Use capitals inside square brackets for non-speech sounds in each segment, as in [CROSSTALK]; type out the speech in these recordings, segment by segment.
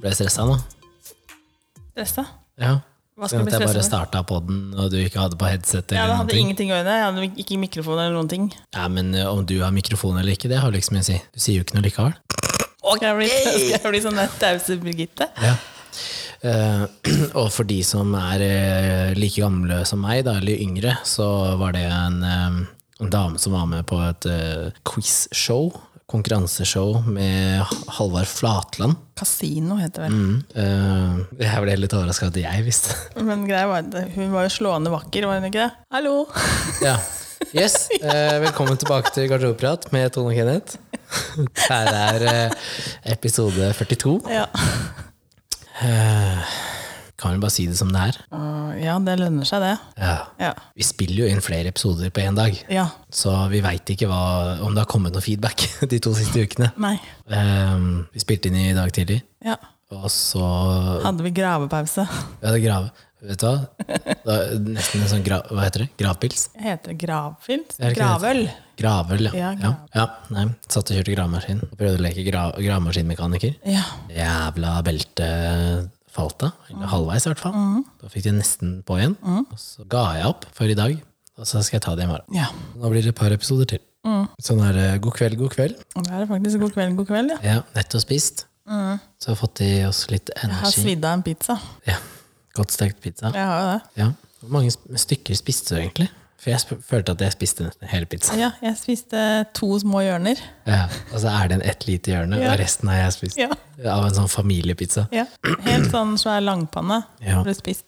Ble jeg stressa nå? Stressa? Ja. Hva skal Sånn jeg at jeg bli bare stressa med? starta podden, og du ikke hadde på headset Ja, det eller noen hadde ting. ingenting å gjøre. Jeg hadde ikke mikrofon eller noen ting. Ja, men ø, om du har mikrofon eller ikke, det har liksom mye å si. Du sier jo ikke noe likevel. Skal jeg bli, skal [LAUGHS] jeg bli sånn der tause Birgitte? Ja. Eh, [CLEARS THROAT] og for de som er eh, like gamle som meg, da, eller yngre, så var det en, eh, en dame som var med på et eh, quizshow, konkurranseshow med Halvard Flatland. Kasino heter det vel. Mm. eh, jeg ble litt overraska at jeg visste. Men greia var at hun var jo slående vakker, var hun ikke det? Hallo! ja. Yes, eh, velkommen tilbake til Garderobeprat med Tone og Kenneth. Her er eh, episode 42. [LAUGHS] Ja. Eh, kan vel bare si det som det er. Uh, ja, det lønner seg, det. Ja. Ja. Vi spiller jo inn flere episoder på én dag. ja. Så vi veit ikke hva, om det har kommet noe feedback [LAUGHS] de to siste ukene. Nei. Ehm, vi spilte inn i dag tidlig, Ja. og så Hadde vi gravepause? Vi hadde grave. Vet du hva? Det var nesten en sånn gra, Hva heter det? Gravpils? Heter det gravfilm? Er det ikke det Gravøl? Gravøl, ja. Ja, ja. ja nei, satt og kjørte gravemaskin. og Prøvde å leke gra, gravemaskinmekaniker. Ja. Jævla belte falt av. Eller Mm. halvveis, i hvert fall. Da fikk de nesten på igjen. Og så ga jeg opp for i dag, og så skal jeg ta det i morgen. ja. Nå blir det et par episoder til. Mm. Sånn er det. God kveld, god kveld. Og Da er det faktisk god kveld, god kveld, ja. Ja, nettopp spist. Så har vi fått i oss litt Mm. Jeg har energi. svidd av en pizza. Ja, Godt stekt pizza. Jeg har jo det. Ja. Hvor mange sp- stykker spiste du egentlig? For jeg sp- følte at jeg spiste nesten hele pizzaen. Ja, jeg spiste to små hjørner. Ja. Og så er det en ett lite hjørne, Ja. og resten har jeg spist. Ja. Av en sånn familiepizza. Ja. Helt sånn svær langpanne Ja. ble spist.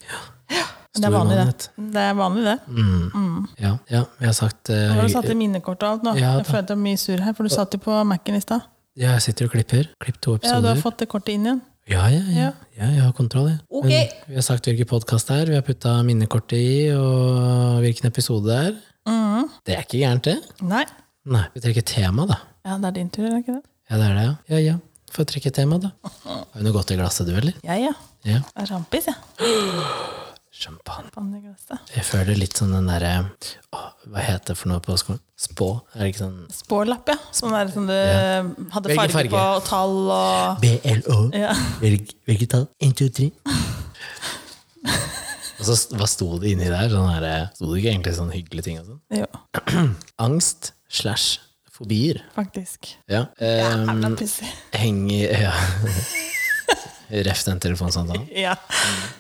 Det Stor er vanlig, mann, det. Det er vanlig, det. Ja, ja jeg har sagt eh, Nå har du høy- satt i minnekort og alt nå. Ja, jeg føler at det er mye sur her, for du satt jo på Mac-en i stad. ja, Jeg sitter og klipper. Klipp to Ja, du episoder. har fått det kortet inn igjen. Ja, ja, ja. ja jeg har kontroll, jeg. Ok. Men vi har sagt hvilken podkast det er, vi har putta minnekortet i, og hvilken episode det er. Mm. Det er ikke gærent, det. Nei. Nei, vi trekker tema, da. Ja, det er din tur, er det ikke det? Ja, det er det, ja. Ja, ja. Får jeg trekke et tema, da. [LAUGHS] Har du noe godt i glasset, du, eller? Jeg, ja. Ja. Det er sjampis, jeg. Champagne. Vann i glasset. Jeg føler litt sånn den derre åh, Hva heter det for noe på skolen? Spå? Er det ikke sånn Spårlapp, ja. Sånn der som du hadde Velge farge, farge. på og tall og BLO? Ja. Velg, hvilket tall? 1, 2, 3. Og så st- hva sto det inni der? Sånn her, sto det ikke egentlig sånn hyggelige ting og sånn? Jo, Angst slash fobier. faktisk. Ja. Jævla Um, pussig. henger Ja. [LAUGHS] Ref den telefonsamtalen. Ja.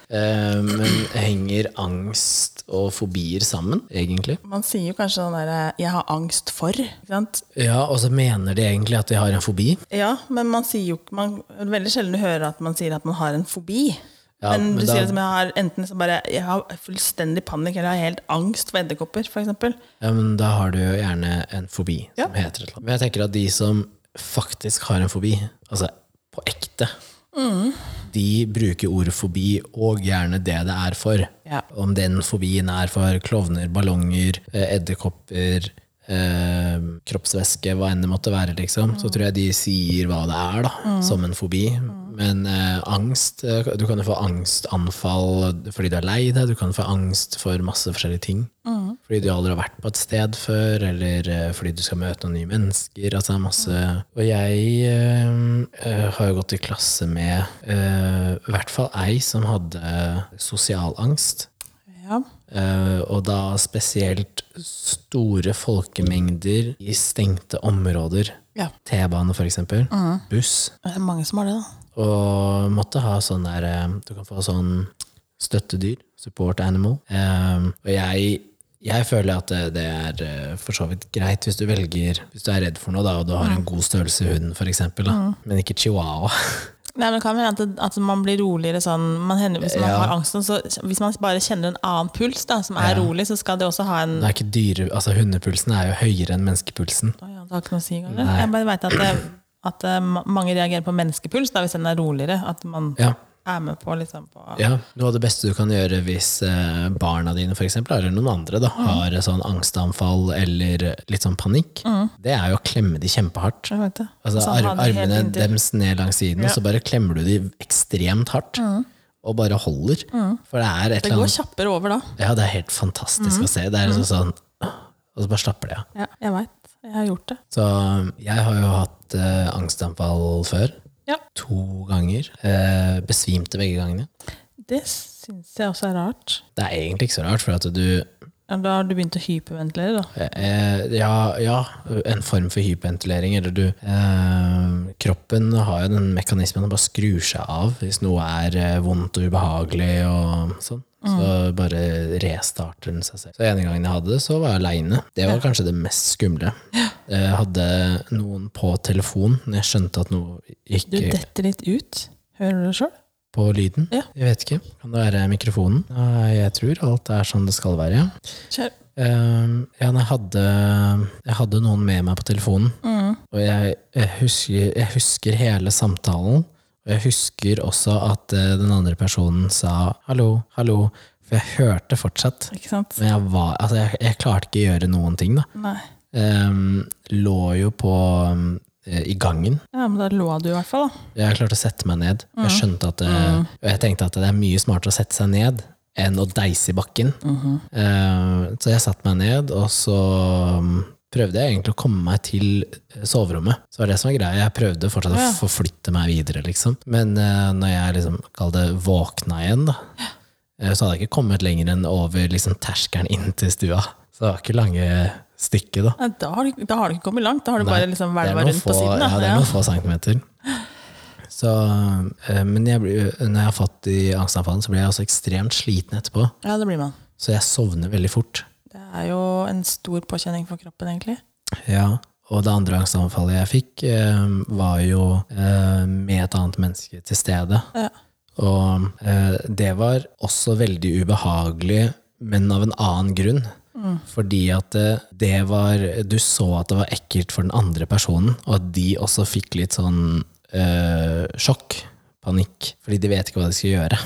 Eh, Men henger angst og fobier sammen, egentlig? Man sier jo kanskje sånn derre 'jeg har angst for'. Ikke sant? Ja, og så mener de egentlig at de har en fobi. Ja, men man sier jo ikke man, Veldig sjelden du hører at man sier at man har en fobi. Ja, men men du da- sier at jeg har enten så bare Jeg har fullstendig panikk, eller jeg har helt angst for edderkopper, f.eks. Ja, men da har du jo gjerne en fobi Ja. som heter et eller annet. Men jeg tenker at de som faktisk har en fobi, altså på ekte, Mm. de bruker ordet fobi og gjerne det det er for. Ja. Om den fobien er for klovner, ballonger, eh, edderkopper, eh, kroppsvæske, hva enn det måtte være, liksom, så tror jeg de sier hva det er, da, som en fobi. Men eh, angst eh, Du kan jo få angstanfall fordi du er lei deg, du kan få angst for masse forskjellige ting. Fordi du aldri har vært på et sted før, eller eh, fordi du skal møte noen nye mennesker. Altså det er masse Og jeg eh, eh, har jo gått i klasse med eh, i hvert fall ei som hadde sosial angst. Ja. Eh, og da spesielt store folkemengder i stengte områder. ja. T-bane, for eksempel. Buss. Det er mange som har det, da. Og måtte ha sånn der eh, Du kan få sånn støttedyr. Support animal. Eh, og jeg, jeg føler at det, det er eh, for så vidt greit hvis du velger Hvis du er redd for noe, da, og du har en god størrelse i hunden, for eksempel, da. Men ikke chihuahua. [LAUGHS] Nei, men det kan være at, det- at man blir roligere sånn man hender, Hvis man Ja. har angsten, så hvis man bare kjenner en annen puls da, som er rolig, så skal det også ha en Det er ikke dyre, altså Hundepulsen er jo høyere enn menneskepulsen. Å ja, Det har ikke noe å si, kanskje? Jeg bare vet at, det, at eh, ma- mange reagerer på menneskepuls da, hvis den er roligere. At man Ja. er med på liksom på Ja, Noe av det beste du kan gjøre hvis eh, barna dine for eksempel, eller noen andre da, har sånn angstanfall eller litt sånn panikk, det er jo å klemme de kjempehardt. Jeg vet det. Altså Mm. Sånn ar ha det helt Armene inntil- dems ned langs siden, og så bare klemmer du de ekstremt hardt. Og bare holder. For det er et Mm. Det eller går Mm. annet kjappere over da. Ja, det er helt fantastisk å se. Det er liksom sånn Og så bare slapper de av. Ja, jeg veit. Jeg har gjort det. Så jeg har jo hatt eh, angstanfall før. Ja. to ganger. Eh, besvimte begge gangene. Det syns jeg også er rart. Det er egentlig ikke så rart, for at du Ja, Da har du begynt å hyperventilere, da. eh, ja, ja, en form for hyperventilering, eller du eh, Kroppen har jo den mekanismen å bare skru seg av hvis noe er eh, vondt og ubehagelig og sånn. Så Mm. bare restarter den seg selv. Så ene gangen jeg hadde det, så var jeg aleine. Det var kanskje det mest skumle. Jeg hadde noen på telefon når jeg skjønte at noe Du ikke detter litt ut. Hører du det sjøl? på lyden. Ja. Jeg vet ikke. Kan det være mikrofonen? Nei, Jeg tror alt er som det skal være, ja. Kjør. Ehm, ja, men jeg hadde, jeg hadde noen med meg på telefonen, og jeg, jeg, husker, jeg husker hele samtalen. Og jeg husker også at eh, den andre personen sa 'hallo, hallo', for jeg hørte fortsatt. Ikke sant? Men jeg, var, altså jeg, jeg klarte ikke å gjøre noen ting, da. Nei. Ehm, lå jo på um, eh, i gangen. Ja, men da lå du i hvert fall, da. Jeg klarte å sette meg ned. Jeg skjønte at det, Og jeg tenkte at det er mye smartere å sette seg ned enn å deise i bakken. Eh, så jeg satte meg ned, og så mm, prøvde jeg egentlig å komme meg til soverommet. Så det var det som var greia. Jeg prøvde fortsatt Ja. å forflytte meg videre, liksom. Men eh, når jeg liksom, kall det, våkna igjen, da, eh, så hadde jeg ikke kommet lenger enn over liksom, terskelen inn til stua. Så det var ikke lange stykket, da. Nei, da, har du, da har du ikke kommet langt. Da har du Nei, bare liksom det er hvelva noen rundt på få- siden. Da. Ja, det er Ja. noen få centimeter. Så, eh, men jeg, blir- når jeg har fått de angstanfallene, så blir jeg også ekstremt sliten etterpå. ja, det blir man. Så jeg sovner veldig fort. Det er jo en stor påkjenning for kroppen, egentlig. Ja, og det andre angstanfallet jeg fikk, eh, var jo eh, med et annet menneske til stede. Ja. Og eh, det var også veldig ubehagelig, men av en annen grunn. Fordi at eh, det var Du så at det var ekkelt for den andre personen, og at de også fikk litt sånn eh, sjokk. Panikk. Fordi de vet ikke hva de skal gjøre.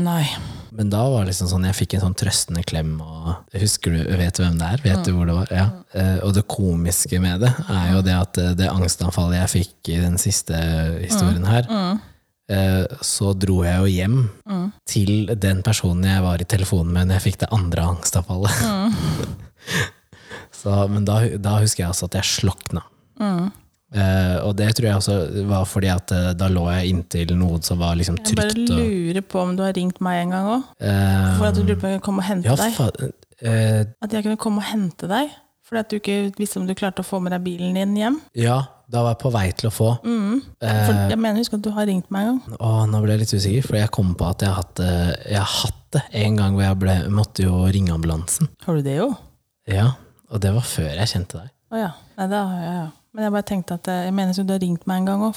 Nei. Men da var det liksom sånn jeg fikk en sånn trøstende klem. Og husker du, Vet du hvem det er? Vet Mm. du hvor det var? Ja. Eh, og det komiske med det er jo det at eh, det angstanfallet jeg fikk i den siste Mm. historien her, eh, så dro jeg jo hjem Mm. til den personen jeg var i telefonen med når jeg fikk det andre angstanfallet. Mm. [LAUGHS] så, men da, da husker jeg også at jeg slokna. Mm. Eh, og det tror jeg også var fordi at eh, da lå jeg inntil noe som var liksom Jeg bare trygt. og, lurer på om du har ringt meg en gang òg. eh, For at du lurte på om jeg kunne komme og hente ja, deg. faen. Eh, At jeg kunne komme og hente deg. Fordi at du ikke visste om du klarte å få med deg bilen din hjem. ja, da var jeg på vei til å få. Mm. Eh, For jeg mener, husk at du har ringt meg en gang. Og nå ble jeg litt usikker, for jeg kom på at jeg har hatt, det- jeg har hatt det en gang hvor jeg ble, måtte jo ringe ambulansen. Har du det jo? Ja, Og det var før jeg kjente deg. Å ja. Nei, da har jeg ja. Men jeg bare tenkte at eh, jeg mener at du har ringt meg en gang òg.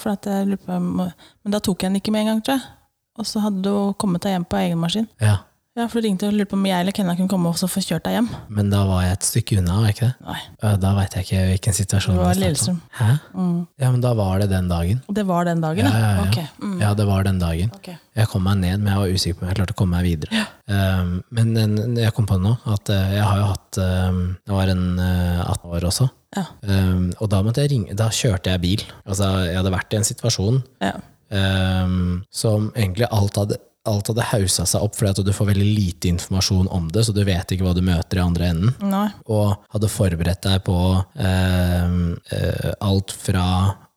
Men da tok jeg den ikke med en gang, tror jeg. Og så hadde du kommet deg hjem på egen maskin. Ja, Ja, for du ringte og lurte på om jeg eller Kenna kunne komme og så få kjørt deg hjem. Men da var jeg et stykke unna, var jeg ikke det? Nei. Eh, Da veit jeg ikke hvilken situasjon Det var jeg startet om. Hæ? Ja, men da var det den dagen. Mm. Og det var den dagen, Ja, ja, ja. Ok. Mm. Ja, det var den dagen. Ok. Jeg kom meg ned, men jeg var usikker på om jeg klarte å komme meg videre. Um, men en- jeg kom på det nå, at eh, jeg har jo hatt um, Jeg var en eh, 18 år også. Ja. Um, og da, måtte jeg ringe, da kjørte jeg bil. Altså, jeg hadde vært i en situasjon Ja. um, som egentlig alt hadde Alt hadde hausa seg opp fordi at du får veldig lite informasjon om det, så du vet ikke hva du møter i andre enden Nei. og hadde forberedt deg på eh, eh, alt fra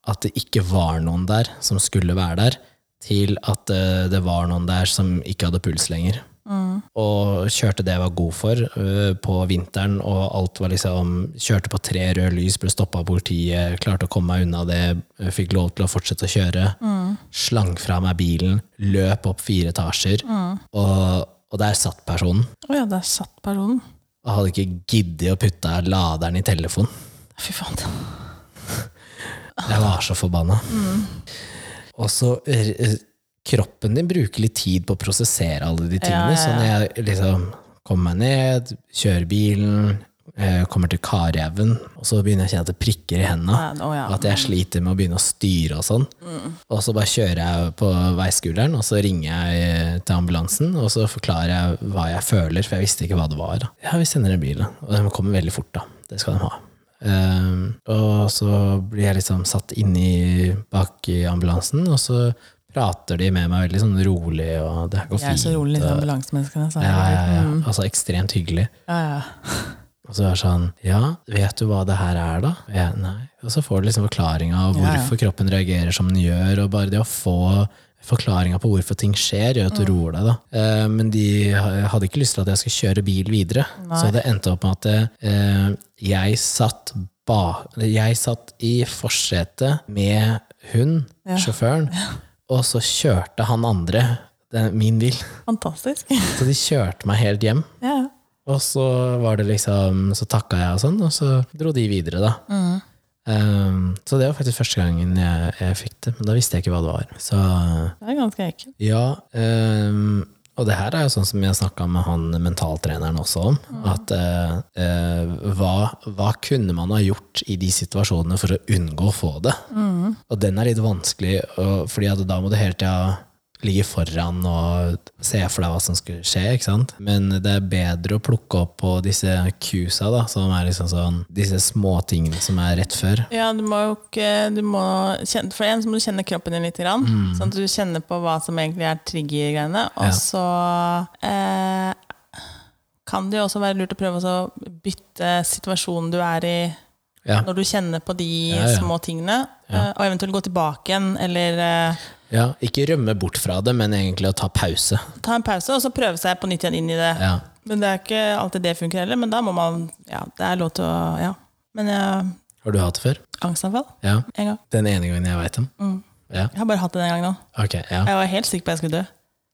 at det ikke var noen der som skulle være der, til at eh, det var noen der som ikke hadde puls lenger. Og kjørte det jeg var god for eh, på vinteren, og alt var liksom Kjørte på tre røde lys, ble stoppa av politiet, klarte å komme meg unna det, eh, fikk lov til å fortsette å kjøre. Slang fra meg bilen, løp opp fire etasjer, og, og der satt personen. Å ja, der satt personen. Og hadde ikke giddet å putte laderen i telefonen. Fy faen. Jeg var så forbanna. Mm. Og så r- r- Kroppen din bruker litt tid på å prosessere alle de tingene. Ja, ja, ja. Så når jeg liksom kommer meg ned, kjører bilen, eh, kommer til Karjæven, og så begynner jeg å kjenne at det prikker i henda. Ja, å ja. Mm. At jeg sliter med å begynne å styre og sånn. Og så bare kjører jeg på veiskulderen, og så ringer jeg eh, til ambulansen, og så forklarer jeg hva jeg føler, for jeg visste ikke hva det var. da. Ja, vi sender en bil, da. og de kommer veldig fort, da. Det skal de ha. Ehm, og så blir jeg liksom satt inni bak i ambulansen, og så prater de med meg veldig sånn rolig, og det her går Jeg er fint. så rolig, Mm. disse og, ambulansemenneskene. sa ja, jeg. ja, ja. Altså ekstremt hyggelig. Ja, ja. Og så er det sånn Ja, vet du hva det her er, da? Og Jeg, nei. Og så får du liksom forklaringa av Ja, ja. hvorfor kroppen reagerer som den gjør, og bare det å få forklaringa på hvorfor ting skjer, gjør at du Mm. roer deg, da. Eh, men de ha- hadde ikke lyst til at jeg skulle kjøre bil videre, så det endte opp med at eh, jeg satt ba, Jeg satt i forsetet med hun, sjåføren, og så kjørte han andre den, min bil. Fantastisk. [LAUGHS] Så de kjørte meg helt hjem. ja. Og så var det liksom Så takka jeg og sånn, og så dro de videre, da. Um, så det var faktisk første gangen jeg, jeg fikk det, men da visste jeg ikke hva det var. Så Det er ganske ekkelt. ja. Um, og det her er jo sånn som jeg snakka med han mentaltreneren også om. At eh, eh, hva, hva kunne man ha gjort i de situasjonene for å unngå å få det? Og den er litt vanskelig, og, fordi at da må du hele tida ligge foran og se for deg hva som skulle skje. ikke sant? Men det er bedre å plukke opp på disse cuesa, da, som er liksom sånn, disse småtingene som er rett før. Ja, du må jo ikke du må kjenne, For en så må du kjenne kroppen din litt. Grann, Sånn at du kjenner på hva som egentlig er trigger-greiene. Og Mm. Ja. så eh, kan det jo også være lurt å prøve å bytte situasjonen du er i, Ja. når du kjenner på de Ja, ja. små tingene. eh, Og eventuelt gå tilbake igjen, eller eh, ja, Ikke rømme bort fra det, men egentlig å ta pause. ta en pause, og så prøve seg på nytt igjen inn i det. Ja. Men det er ikke alltid det funker heller. Men da må man Ja, det er lov til å Ja. Men eh, Har du hatt det før? angstanfall Ja. en gang. Den ene gangen jeg veit om? Mm. Ja. Jeg har bare hatt det en gang nå. Ok, ja. Jeg var helt sikker på at jeg skulle dø.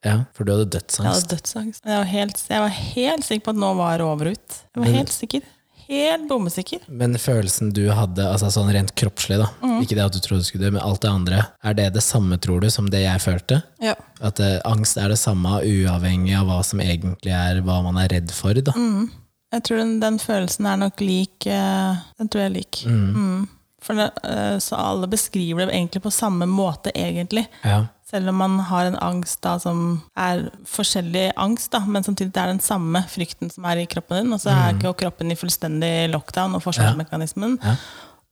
ja. For du hadde Jeg dødsangst? hadde dødsangst. Jeg var helt, jeg var helt sikker på at nå var det over ut. Jeg var helt sikker. Helt bommesikker. Men følelsen du hadde, altså sånn rent kroppslig, da Mm. ikke det at du trodde du skulle dø, men alt det andre, er det det samme, tror du, som det jeg følte? Ja. At eh, angst er det samme, uavhengig av hva som egentlig er hva man er redd for, da. Mm. Jeg tror den, den følelsen er nok lik eh, Den tror jeg er lik. Mm. For det, eh, så alle beskriver det egentlig på samme måte, egentlig. Ja. Selv om man har en angst da, som er forskjellig angst, da, men samtidig det er den samme frykten som er i kroppen din. Og så er ikke jo kroppen i fullstendig lockdown og forsvarsmekanismen. Ja.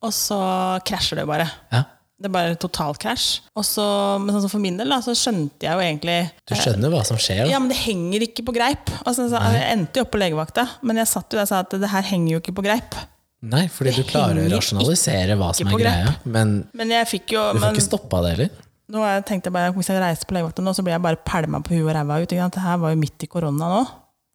Og så krasjer det bare. ja. Det er bare totalkrasj. Og så- Men sånn som for min del da, så skjønte jeg jo egentlig Du skjønner hva som skjer, da. Eh, ja, men det henger ikke på greip. Altså, så, jeg endte jo opp på legevakta, men jeg satt jo der og sa at det her henger jo ikke på greip. Nei, fordi du klarer å henger rasjonalisere hva som er ikke på grep. greia, men Men jeg fikk jo du får men, ikke stoppa det heller. nå har jeg tenkt jeg bare, Hvis jeg reiser på legevakta nå, så blir jeg bare pælma på huet og ræva ut. Ikke sant? Det her var jo midt i korona nå.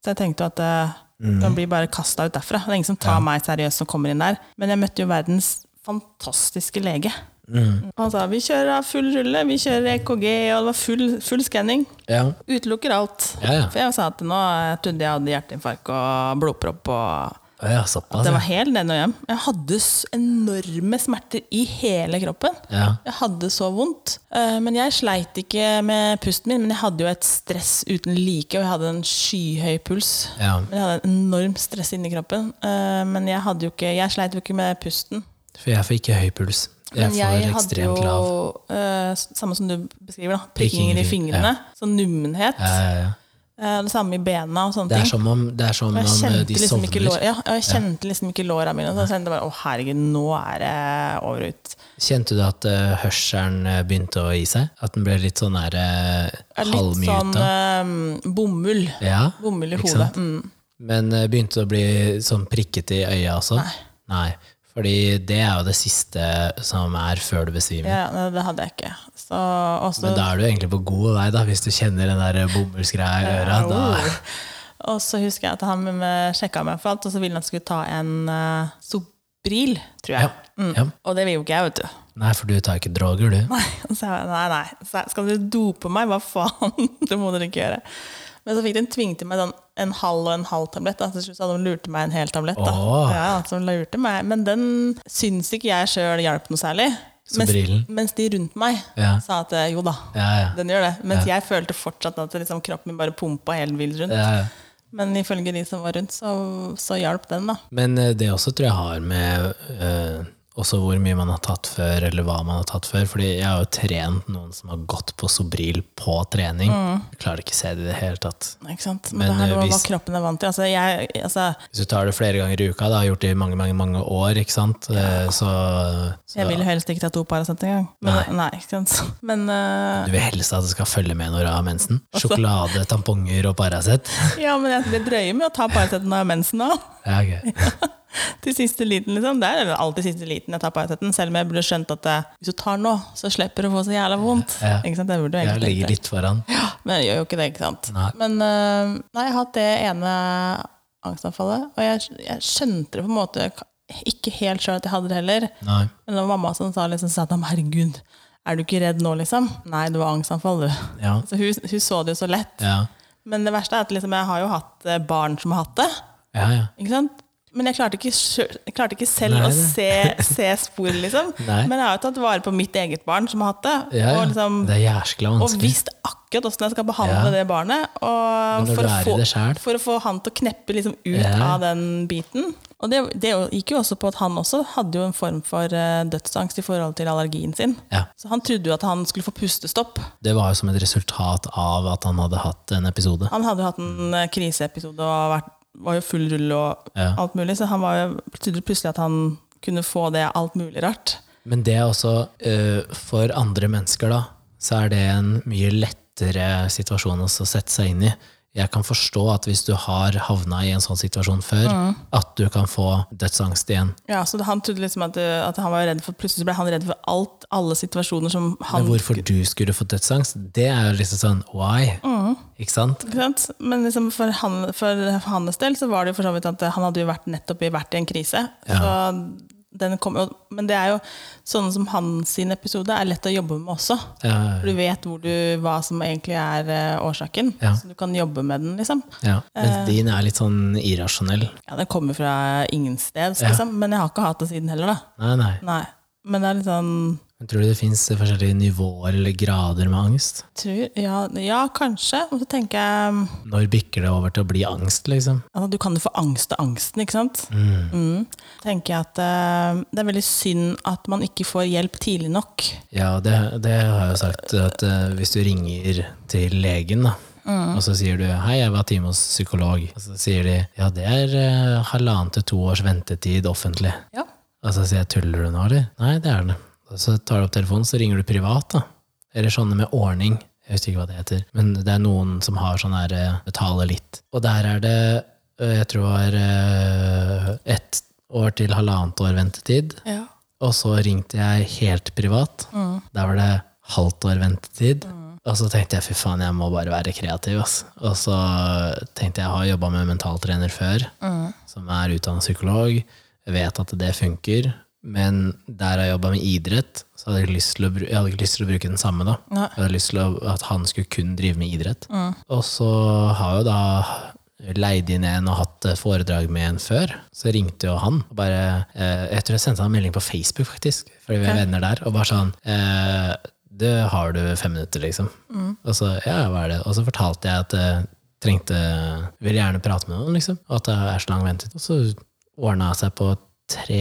Så jeg tenkte jo at eh, Mhm. man blir bare kasta ut derfra. Det er ingen som tar meg seriøst som kommer inn der. Men jeg møtte jo verdens fantastiske lege. Mhm. Han sa vi kjører av full rulle, vi kjører EKG, og det var full, full skanning. Ja. Utelukker alt. Ja, ja. For jeg sa at nå jeg trodde jeg hadde hjerteinfarkt og blodpropp og Å ja, såpass. Det var Ja. helt ned og hjem. Jeg hadde s- enorme smerter i hele kroppen. Ja. Jeg hadde så vondt. Eh, Men jeg sleit ikke med pusten min, men jeg hadde jo et stress uten like, og jeg hadde en skyhøy puls. Ja. Men jeg hadde en enorm stress inni kroppen. Eh, Men jeg, hadde jo ikke, jeg sleit jo ikke med pusten. For jeg får ikke høy puls. Jeg Men får jeg hadde ekstremt lav. jo, eh, s- samme som du beskriver, da, prikkinger i Prikkinger, fingrene. Sånn nummenhet. Ja, ja, ja. eh, Det samme i bena og sånne Det ting. er som om, det er som Og om jeg eh, kjente de liksom ikke sovner. lår, ja, og jeg kjente liksom ikke låra mine. Så jeg kjente bare 'Å, herregud, nå er det over ut'. Kjente du at eh, hørselen eh, begynte å gi seg? At den ble litt sånn der Det uh, er litt sånn halvmyta? eh, bomull. ja. Bomull i Ikke sant? hodet. Mm. Men eh, begynte det å bli sånn prikket i øya også? Nei. Fordi det er jo det siste som er før du besvimer. Ja, nei, det hadde jeg ikke. Så også, Men da er du egentlig på god vei, da, hvis du kjenner den der eh, bomullsgreia i øra. Da. [LAUGHS] Og så husker jeg at han sjekka meg for alt, og så ville han at jeg skulle ta en eh, Sobril, tror Ja. jeg. Mm. Ja. Og det vil jo ikke jeg, vet du. Nei, for du tar ikke droger, du. Nei, og så sa jeg, nei, nei. Så jeg, skal dere dope meg? Hva faen? [LAUGHS] Det må dere ikke gjøre. Men så fikk de en tving til meg sånn, en halv og en halv tablett. Da. Så til slutt hadde de lurt meg en hel tablett. Da. Åh. Ja, så de lurte meg. Men den syns ikke jeg sjøl hjalp noe særlig. Så brillen. mens de rundt meg Ja. sa at eh, jo da, Ja, ja. den gjør det. Mens jeg følte fortsatt at liksom, kroppen min bare pumpa helt vilt rundt. ja. ja. Men ifølge de som var rundt, så, så hjalp den, da. Men eh, det også tror jeg har med eh, også hvor mye man har tatt før, eller hva man har tatt før. Fordi jeg har jo trent noen som har gått på Sobril på trening. Mm. Jeg klarer ikke å se det i det hele tatt. Ikke sant? Men, Men, det her eh, var hva hvis- kroppen er vant til. Altså, jeg, altså, Hvis du tar det flere ganger i uka, da, har gjort det i mange mange, mange år, ikke sant? Eh, Så, så jeg vil jo helst ikke ta to Paracet engang. Men, nei. ikke sant? [LAUGHS] Men eh, du vil helst at det skal følge med når du har mensen. Sjokolade, tamponger og Paracet. Ja, men jeg, det drøyer med å ta Paraceten når jeg har mensen nå. [LAUGHS] Ja, ok. Til siste liten, liksom. Det er jo alltid siste liten jeg tar Paraceten. Selv om jeg burde skjønt at eh, hvis du tar nå, så slipper du å få så jævla vondt. Ja. Ikke sant? Jeg burde jo Jeg egentlig ligger tenkt det. litt foran. Men jeg gjør jo ikke det, ikke sant. Nei. Men eh, nei, jeg har hatt det ene angstanfallet, og jeg, jeg skjønte det på en måte ikke helt sjøl at jeg hadde det heller. Nei. Men det var mamma som sa, liksom, sa til meg, herregud, er du ikke redd nå, liksom? Nei, det var angstanfall, du. Ja. Så Altså, hun, hun så det jo så lett. Ja. Men det verste er at liksom, jeg har jo hatt eh, barn som har hatt det. Ja, ja. Ikke sant? Men jeg klarte ikke, sjø- jeg klarte ikke selv Nei, å nei. se, se spor, liksom. [LAUGHS] Nei. Men jeg har jo tatt vare på mitt eget barn som har hatt det. ja, ja. Og, liksom, Det er jæskla og vanskelig. visst akkurat åssen jeg skal behandle Ja. det barnet. Men Og når for, du å er i det få, selv. for å få han til å kneppe liksom, ut Ja. av den biten. Og det, det gikk jo også på at han også hadde jo en form for eh, dødsangst i forhold til allergien sin. Ja. Så han trodde jo at han skulle få pustestopp. Det var jo som et resultat av at han hadde hatt en episode. Han hadde jo hatt en eh, kriseepisode og vært, var jo full rull og Ja. alt mulig, så han var jo trodde plutselig at han kunne få det alt mulig rart. Men det er også eh, for andre mennesker, da, så er det en mye lettere situasjon også å sette seg inn i. Jeg kan forstå at hvis du har havna i en sånn situasjon før, at du kan få dødsangst igjen. Ja, så Han trodde liksom at, eh, at han var redd for Plutselig ble han redd for alt, alle situasjoner som han Men hvorfor du skulle få dødsangst, det er jo liksom sånn why? Ikke sant? ikke sant? Men liksom for, han, for, for hans del så var det jo for så vidt at eh, han hadde jo vært nettopp i, vært i en krise. Så den kom, jo- men det er jo sånne som hans sin episode er lett å jobbe med også. Ja, For du vet hvor du, hva som egentlig er eh, årsaken, Ja. så du kan jobbe med den. liksom. ja. Mens din er litt sånn irrasjonell. Ja, Den kommer fra ingensteds, liksom. men jeg har ikke hatt det siden heller. da. Nei, nei. Nei. Men det er litt sånn Men Tror du det fins forskjellige nivåer eller grader med angst? tror, ja, ja, kanskje. Og så tenker jeg mm, Når bikker det over til å bli angst, liksom? altså, Du kan jo få angst av angsten, ikke sant? Mm. tenker jeg at eh, Det er veldig synd at man ikke får hjelp tidlig nok. Ja, det, det har jeg jo sagt. At eh, hvis du ringer til legen, da, og så sier du 'hei, jeg var time hos psykolog', og så sier de 'ja, det er eh, halvannen til to års ventetid offentlig'. Ja. Og så sier jeg 'tuller du nå, eller?' Nei, det er det. Og så tar du opp telefonen, så ringer du privat, da. Eller sånne med ordning. Jeg husker ikke hva det heter. Men det er noen som har sånn her eh, 'betale litt'. Og der er det, eh, jeg tror det var eh, ett år til halvannet år ventetid. ja. Og så ringte jeg helt privat. Der var det halvt år ventetid. Og så tenkte jeg fy faen, jeg må bare være kreativ. Ass. Og så tenkte jeg, jeg har jobba med mentaltrener før, som er utdanna psykolog. Jeg vet at det funker. Men der jeg jobba med idrett, så hadde jeg, ikke lyst til å, bru- jeg hadde ikke lyst til å bruke den samme. da. Nei. Jeg hadde lyst til å, at han skulle kun drive med idrett. Og så har jo da leid inn en og hatt eh, foredrag med en før. Så ringte jo han. og bare, eh, Jeg tror jeg sendte han en melding på Facebook, faktisk, fordi vi er venner der. Og bare sånn eh, Det har du fem minutter, liksom. Mm. Og så ja, hva er det? Og så fortalte jeg at jeg trengte Ville gjerne prate med noen, liksom. Og at det er så lang ventetid. Og så ordna seg på tre,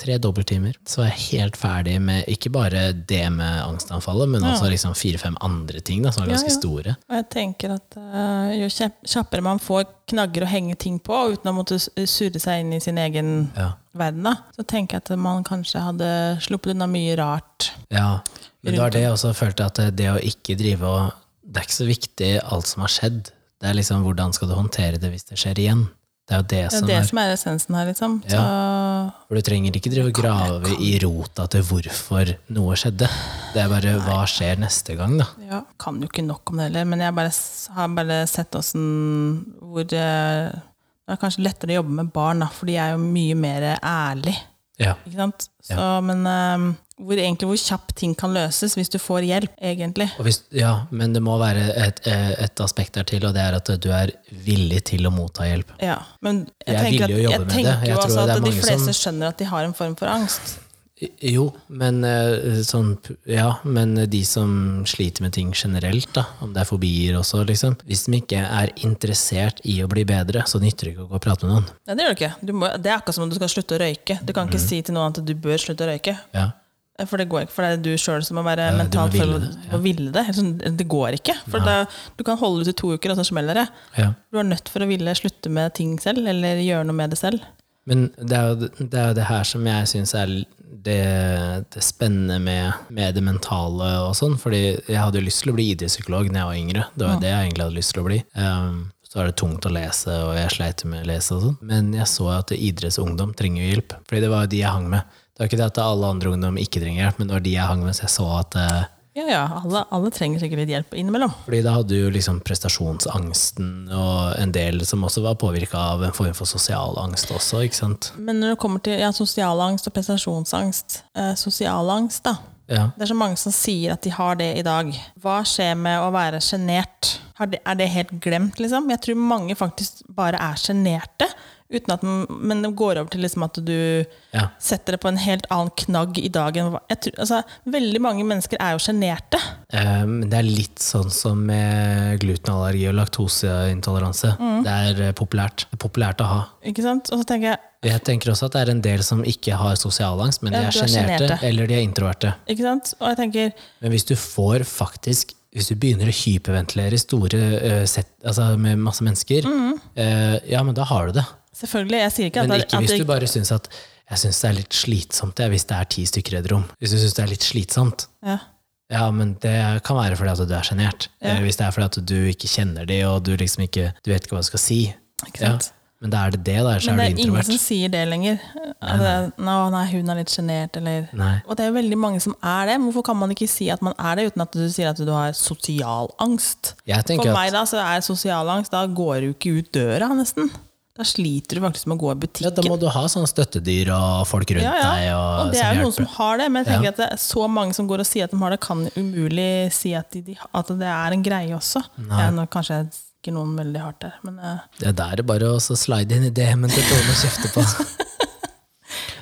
tre dobbelttimer. Så var jeg helt ferdig med ikke bare det med angstanfallet, men også liksom fire-fem andre ting da, som var ganske ja. store. Og jeg tenker at eh, jo kjapp- kjappere man får knagger å henge ting på, uten å måtte s- surre seg inn i sin egen Ja. verden, da, så tenker jeg at man kanskje hadde sluppet unna mye rart. Ja, men det var det jeg også følte at det å ikke drive og Det er ikke så viktig alt som har skjedd. Det er liksom hvordan skal du håndtere det hvis det skjer igjen. Det er jo det Det som Sånn er det er som er essensen her, liksom. Så, For du trenger ikke drive og grave i rota til hvorfor noe skjedde. Det er bare hva skjer neste gang, da. ja. Kan jo ikke nok om det heller, men jeg bare, s- har bare sett åssen hvor eh, Det er kanskje lettere å jobbe med barn, da, for de er jo mye mer ærlig. Ja. Ikke sant? Så, Men eh, hvor, egentlig, hvor kjapt ting kan løses hvis du får hjelp, egentlig. Og hvis, ja, men det må være et, et aspekt der til, og det er at du er villig til å motta hjelp. Ja. Men jeg, Jeg vil tenker at, jo jobbe jeg med det. tenker Jeg jo tror det altså er at de mange fleste som- skjønner at de har en form for angst. Jo, men eh, sånn Ja, men de som sliter med ting generelt, da, om det er fobier også, liksom. Hvis de ikke er interessert i å bli bedre, så nytter det ikke å gå og prate med noen. Nei, det gjør du ikke. Du må, det er akkurat som om du skal slutte å røyke. Du kan ikke Mhm. si til noen at du bør slutte å røyke. Ja. Eh, For det går ikke, for det er du sjøl som må være Eh, du må mentalt ville for å, det, å ville det. Ellers- Det går ikke. For da, du kan holde ut i to uker, og så smeller det. ja. Du er nødt for å ville slutte med ting selv, eller gjøre noe med det selv. Men det er, jo, det er jo det her som jeg syns er det, det spennende med, med det mentale og sånn. Fordi jeg hadde jo lyst til å bli idrettspsykolog da jeg var yngre. Det var jo det jeg egentlig hadde lyst til å bli. Ehm, så er det tungt å lese, og jeg sleit med å lese og sånn. Men jeg så at idrettsungdom trenger jo hjelp. Fordi det var jo de jeg hang med. Det var ikke det at alle andre ungdom ikke trenger hjelp, men det var de jeg hang med, så jeg så at eh, Ja, ja, alle, alle trenger sikkert litt hjelp innimellom. fordi da hadde du jo liksom prestasjonsangsten og en del som også var påvirka av en form for sosial angst også, ikke sant. Men når det kommer til ja, sosialangst og prestasjonsangst, eh, sosialangst da, Ja. det er så mange som sier at de har det i dag. Hva skjer med å være sjenert? Har det- Er det helt glemt, liksom? Jeg tror mange faktisk bare er sjenerte, uten at den- men det går over til liksom at du ja. setter det på en helt annen knagg i dag. enn hva- Jeg tror, altså, veldig mange mennesker er jo sjenerte. Um, det er litt sånn som med glutenallergi og laktoseintoleranse. Det er eh, populært. Det er populært å ha. Ikke sant? Og så tenker jeg, Jeg tenker også at det er en del som ikke har sosialangst, men de Ja, er du er sjenerte sjenerte. eller de er introverte. ikke sant? Og jeg tenker, Men hvis du får faktisk hvis du begynner å hyperventilere i store eh, sett, altså med masse mennesker, eh, ja, men da har du det. selvfølgelig, jeg sier ikke at Men det- ikke at hvis det du bare syns at jeg syns det er litt slitsomt jeg, hvis det er ti stykker i et rom. Hvis du syns det er litt slitsomt, Ja. Ja, men det kan være fordi at du er sjenert. Eh, Hvis det er fordi at du ikke kjenner de, og du liksom ikke du vet ikke hva du skal si. Ikke sant? Ja. Men da er det det, da. Så er Men det er du ingen introvert. som sier det lenger. At det er, «Nå, nei, hun er litt sjenert, eller Nei. Og det er jo veldig mange som er det. men Hvorfor kan man ikke si at man er det, uten at du sier at du har sosial angst? Jeg For tenker meg at da, så er sosial angst Da går du ikke ut døra, nesten. Da sliter du faktisk med å gå i ja, da butikken. må du ha sånn støttedyr og folk rundt Ja, deg. ja. Og, Og det er jo noen som hjelper. har det, men jeg tenker at det er så mange som går og sier at de har det, kan umulig si at, de, de- at det er en greie også. Ja, nå kanskje jeg gir noen veldig hardt der, men eh, Det der er bare å så slide inn i DM-en til Tone og kjefte [LAUGHS] på.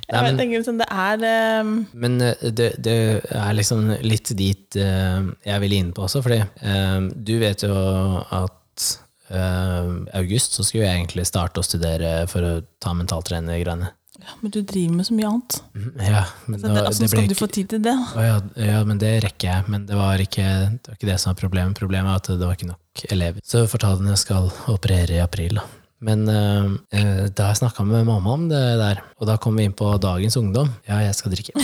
jeg bare tenker liksom, det er eh, Men eh, det, det er liksom litt dit eh, jeg ville inn på også, fordi eh, du vet jo at eh, august så skulle jeg egentlig starte å studere for å ta mentaltrenergreiene. ja, Men du driver med så mye annet. Ja, men Så det, det, altså, det ble skal du ikke få tid til det? da? Å ja, ja, men det rekker jeg. Men det var ikke det, var ikke det som var problemet. Problemet er at det var ikke nok elever. Så fortalene skal operere i april, da. Men eh, eh, da har jeg snakka med mamma om det der, og da kom vi inn på dagens ungdom. Ja, jeg skal [LAUGHS] drikke.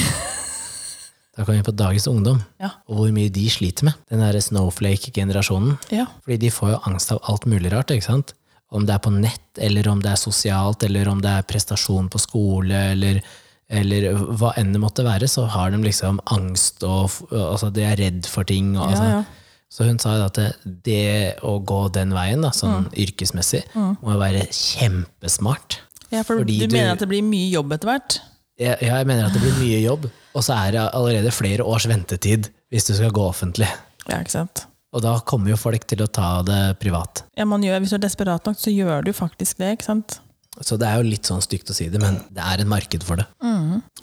Da kom vi inn på dagens ungdom, Ja. og hvor mye de sliter med. Den derre snowflake-generasjonen. ja. Fordi de får jo angst av alt mulig rart, ikke sant? Om det er på nett, eller om det er sosialt, eller om det er prestasjon på skole, eller, eller hva enn det måtte være, så har de liksom angst, og f- altså, de er redd for ting. Og, altså. ja. Så hun sa jo at det, det å gå den veien, da, sånn Mm. yrkesmessig, må jo være kjempesmart. Ja, for Fordi du, du- mener at det blir mye jobb etter hvert? Jeg, ja, jeg mener at det blir mye jobb, og så er det allerede flere års ventetid hvis du skal gå offentlig. Ja, ikke sant? Og da kommer jo folk til å ta det privat. Ja, man gjør, hvis du er desperat nok, så gjør du faktisk det, ikke sant? Så det er jo litt sånn stygt å si det, men det er en marked for det.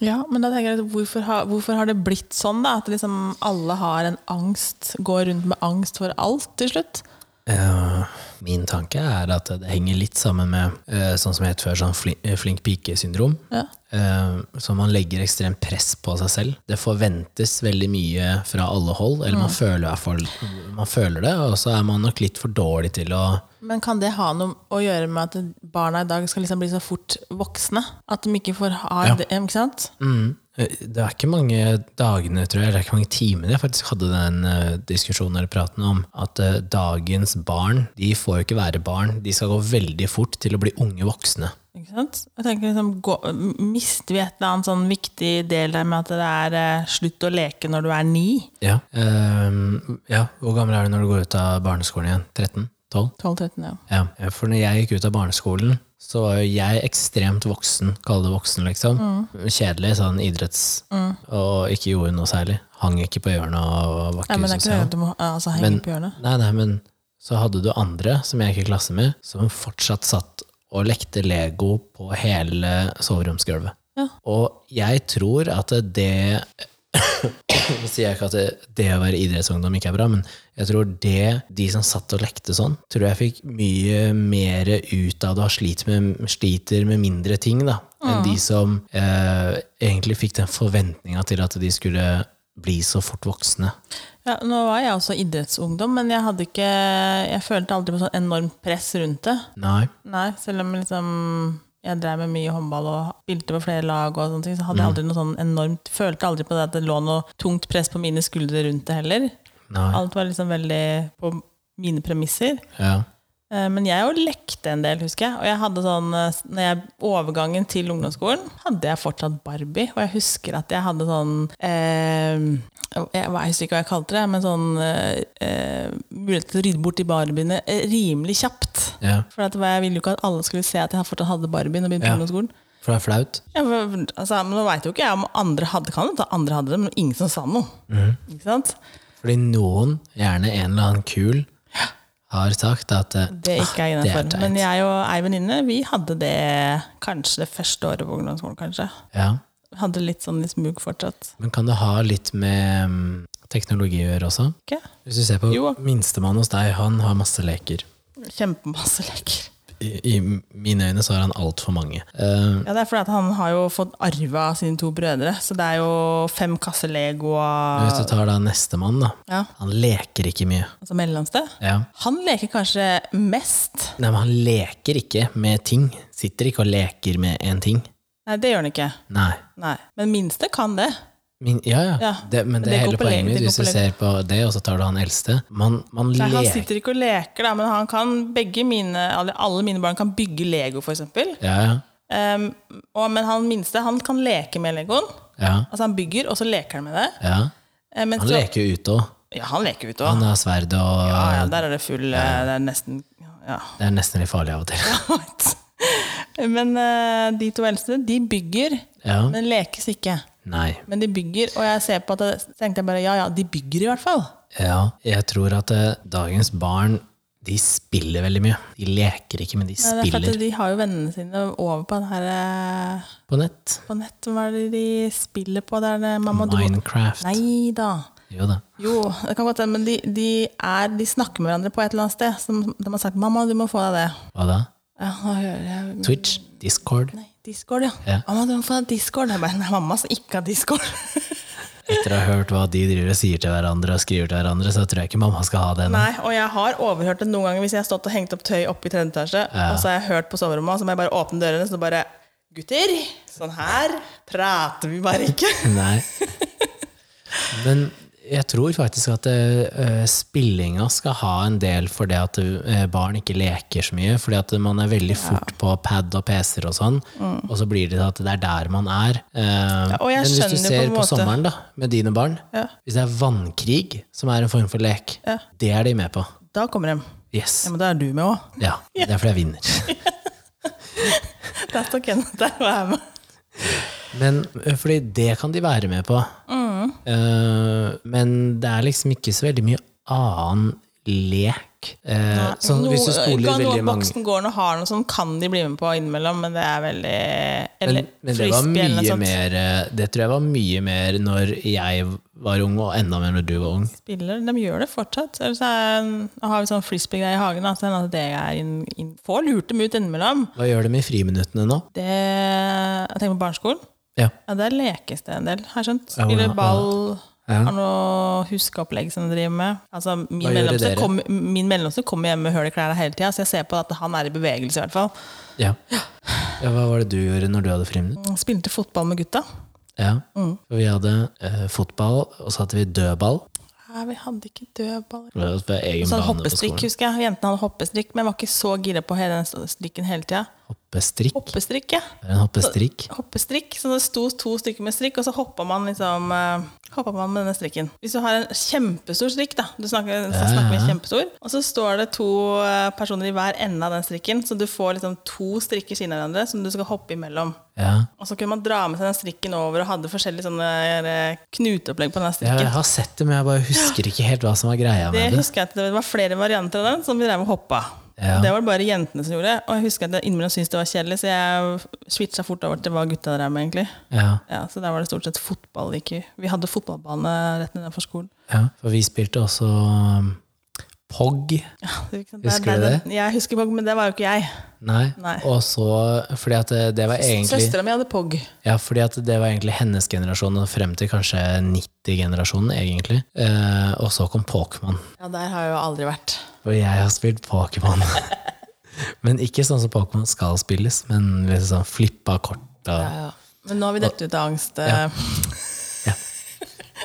Ja, men da tenker jeg, at hvorfor har, hvorfor har det blitt sånn da? At liksom alle har en angst, går rundt med angst for alt til slutt? Eh, min tanke er at det henger litt sammen med eh, sånn som het før, sånn flink, flink pike-syndrom. Ja. Eh, så man legger ekstremt press på seg selv. Det forventes veldig mye fra alle hold, eller man, føler, i hvert fall- man føler det, og så er man nok litt for dårlig til å Men kan det ha noe å gjøre med at barna i dag skal liksom bli så fort voksne? At de ikke får ha Ja. det, ikke sant? Mm. Det er ikke mange dagene, tror jeg, det er ikke mange timene jeg faktisk hadde den eh, diskusjonen eller praten om, at eh, dagens barn, de får jo ikke være barn, de skal gå veldig fort til å bli unge voksne. Ikke sant? Jeg tenker liksom, gå, Mister vi et eller annet sånn viktig del der med at det er eh, slutt å leke når du er ni? Ja. Ehm, ja. Hvor gammel er du når du går ut av barneskolen igjen? 13? 12? 12-13, ja. Ja. For når jeg gikk ut av barneskolen, så var jo jeg ekstremt voksen, kall det voksen, liksom. Mm. Kjedelig, sånn idretts, og ikke gjorde noe særlig. Hang ikke på hjørnet og var Nei, ikke men det er ikke det sosial. at du må altså, henge Men- på hjørnet. Nei, nei, men så hadde du andre som jeg gikk i klasse med, som fortsatt satt og lekte Lego på hele soveromsgulvet. Ja. Og jeg tror at det [COUGHS] Nå sier jeg ikke at det, det å være idrettsungdom ikke er bra, men jeg tror det de som satt og lekte sånn, tror jeg fikk mye mer ut av det og sliter med, sliter med mindre ting, da, enn de som eh, egentlig fikk den forventninga til at de skulle bli så fort voksne. Ja, nå var jeg også idrettsungdom, men jeg hadde ikke Jeg følte aldri på sånn enormt press rundt det. Nei. Nei, selv om liksom jeg drev med mye håndball og spilte på flere lag, og sånne ting, så hadde jeg aldri noe sånn enormt, følte aldri på det at det lå noe tungt press på mine skuldre rundt det heller. Nei. Alt var liksom veldig på mine premisser. Ja. Eh, Men jeg jo lekte en del, husker jeg. Og jeg hadde sånn, eh, når jeg, overgangen til ungdomsskolen hadde jeg fortsatt Barbie. Og jeg husker at jeg hadde sånn eh, jeg, jeg husker ikke hva jeg kalte det, men sånn eh, eh, mulighet til å rydde bort de Barbiene eh, rimelig kjapt. ja. For at jeg ville jo ikke at alle skulle se at jeg fortsatt hadde Barbie når jeg begynte Ja. på ungdomsskolen. For det er flaut. Ja, for, altså, men nå veit jo ikke jeg om andre hadde kan hende at andre hadde det, men ingen som sa noe. Mhm. Ikke sant? Fordi noen, gjerne en eller annen kul, har sagt at eh, Det ikke er «Ah, det innafor. teit». Men jeg og ei venninne vi hadde det kanskje det første året på ungdomsskolen. kanskje. ja. Vi Hadde litt sånn litt smug fortsatt. Men kan det ha litt med mm, teknologi å gjøre også? Ikke? Hvis du ser på Jo. minstemann hos deg, han har masse leker. Kjempemasse leker. I, I mine øyne så har han altfor mange. Eh, Ja, det er fordi at han har jo fått arva av sine to brødre, så det er jo fem kasser Lego og hvis du tar da nestemann, da. ja, Han leker ikke mye. altså mellomste. Ja. Han leker kanskje mest. Nei, men han leker ikke med ting. Sitter ikke og leker med én ting. Nei, det gjør han ikke. Nei. Nei. Men minste kan det. Min, ja, ja. Ja, Det, men det, det er går hele på le- poenget mitt. det går Hvis på du le- ser på det, og så tar du han eldste Man, man Nei, han leker sitter ikke og leker, da, men han kan begge mine, alle, alle mine barn kan bygge Lego, f.eks. Ja, ja. Um, og, men han minste han kan leke med Legoen. ja, Altså Han bygger, og så leker han med det. ja. Eh, men Han så, leker jo ute òg. ja, han leker ute Han òg. har sverd og Ja, ja, der er det full eh, Det er nesten Ja. [LAUGHS] Det er nesten litt farlig av og til. men eh, de to eldste, de bygger, Ja. men lekes ikke. Nei. Men de bygger, og jeg ser på at det, så tenkte jeg bare ja, ja, de bygger i hvert fall. Ja, jeg tror at eh, dagens barn de spiller veldig mye. De leker ikke, men de Ja, Det er for spiller at de har jo vennene sine over på den her eh, på nett. på nett. Hva er det de spiller på? Det er det mamma du Minecraft. Nei da. Jo da. Jo, det kan godt hende, men de, de, er, de snakker med hverandre på et eller annet sted. Som de har sagt 'mamma, du må få deg det'. Hva da? Ja, nå hører jeg Twitch? Discord? Nei, Discord, ja. Ja. Mamma, du må få deg Discord. Jeg bare, Nei, mamma som ikke har Discord. [LAUGHS] Etter å ha hørt hva de driver og sier til hverandre og skriver til hverandre, så tror jeg ikke mamma skal ha det nå. Nei, og jeg har overhørt det noen ganger hvis jeg har stått og hengt opp tøy oppe i tredje etasje, og så har jeg hørt på soverommet, og så må jeg bare åpne dørene, så bare Gutter, sånn her prater vi bare ikke. Nei. Men jeg tror faktisk at eh, spillinga skal ha en del for det at eh, barn ikke leker så mye. Fordi at man er veldig fort på pad og PC-er og sånn, og så blir det til at det er der man er. Eh, Mm. og jeg men hvis du skjønner jo på ser en på, måte- sommeren da, med dine barn, Ja. hvis det er vannkrig som er en form for lek, Ja. det er de med på. Da kommer de. Yes. Ja, men da er du med [LAUGHS] òg. Ja, det er fordi jeg vinner. Der står Ken. Der var jeg med. Men ø, fordi det kan de være med på. Mm. Eh, men det er liksom ikke så veldig mye annen lek. Eh, sånn hvis du skoler kan veldig noen mange Voksengården og har noe sånn, kan de bli med på innimellom, men det er veldig men, Eller men det var frisbee eller noe mye sånt. mer eh, Det tror jeg var mye mer når jeg var ung, og enda mer når du var ung. Spiller, de gjør det fortsatt. Eller så er, nå har vi sånn frisbee-greie i hagen. da, så at det er inn, inn, Får lurt dem ut innimellom. Hva gjør de med friminuttene nå? Det, jeg tenker på barneskolen. Ja. Ja, Der lekes det en del, har jeg skjønt. Ja, hvordan- Spiller ball. Ja. Har noe huskeopplegg som de driver med. Altså, min, Hva gjør mellomste dere? kom, min mellomste kommer hjem med høl i klærne hele tida, så jeg ser på at han er i bevegelse. i hvert fall. ja. ja hva var det du gjorde når du hadde friminutt? Spilte fotball med gutta. Ja. Mm. For vi hadde eh, fotball, og så hadde vi dødball. Nei, vi hadde ikke dødball. Det var egen Sånn bane på hoppestrikk, skolen. husker jeg. Jentene hadde hoppestrikk, men jeg var ikke så gira på hele den strikken hele tida. Hoppestrikk? Hoppestrikk, ja. Det er En hoppestrikk? Hoppestrikk, så det sto to stykker med strikk, og så hoppa man liksom eh, hoppa man med denne strikken. Hvis du har en kjempestor strikk, da, du snakker, så Ja, snakker vi ja. kjempestor, og så står det to eh, personer i hver ende av den strikken, så du får liksom to strikker siden av hverandre som du skal hoppe imellom. Ja. Og så kunne man dra med seg den strikken over og hadde forskjellige sånne eh, knuteopplegg på den Ja, strikken. jeg har sett det, men jeg bare husker ikke helt hva som var greia Det med det. husker jeg at det var flere varianter av den som vi drev og hoppa. Ja. Det var det bare jentene som gjorde. Og jeg husker at jeg innimellom syntes det var kjedelig, så jeg switcha fort over til hva gutta drev med, egentlig. Ja, Ja, så der var det stort sett fotball. Ikke. Vi hadde fotballbane rett nedenfor skolen. ja. For vi spilte også um, POG. Ikke sant? Husker Der- du der- det? den- Jeg husker POG, men det var jo ikke jeg. Nei. Nei. Og så Fordi at det, det var egentlig Søstera mi hadde POG. Ja, fordi at det var egentlig hennes generasjon, og frem til kanskje 90-generasjonen, egentlig. Eh, og så kom Pokémon. Ja, der har jeg jo aldri vært. Og jeg har spilt Pokémon. [LAUGHS] men ikke sånn som Pokémon skal spilles, men liksom sånn flippa kort. Ja, Og... ja. Men nå har vi dette ut av angst. eh.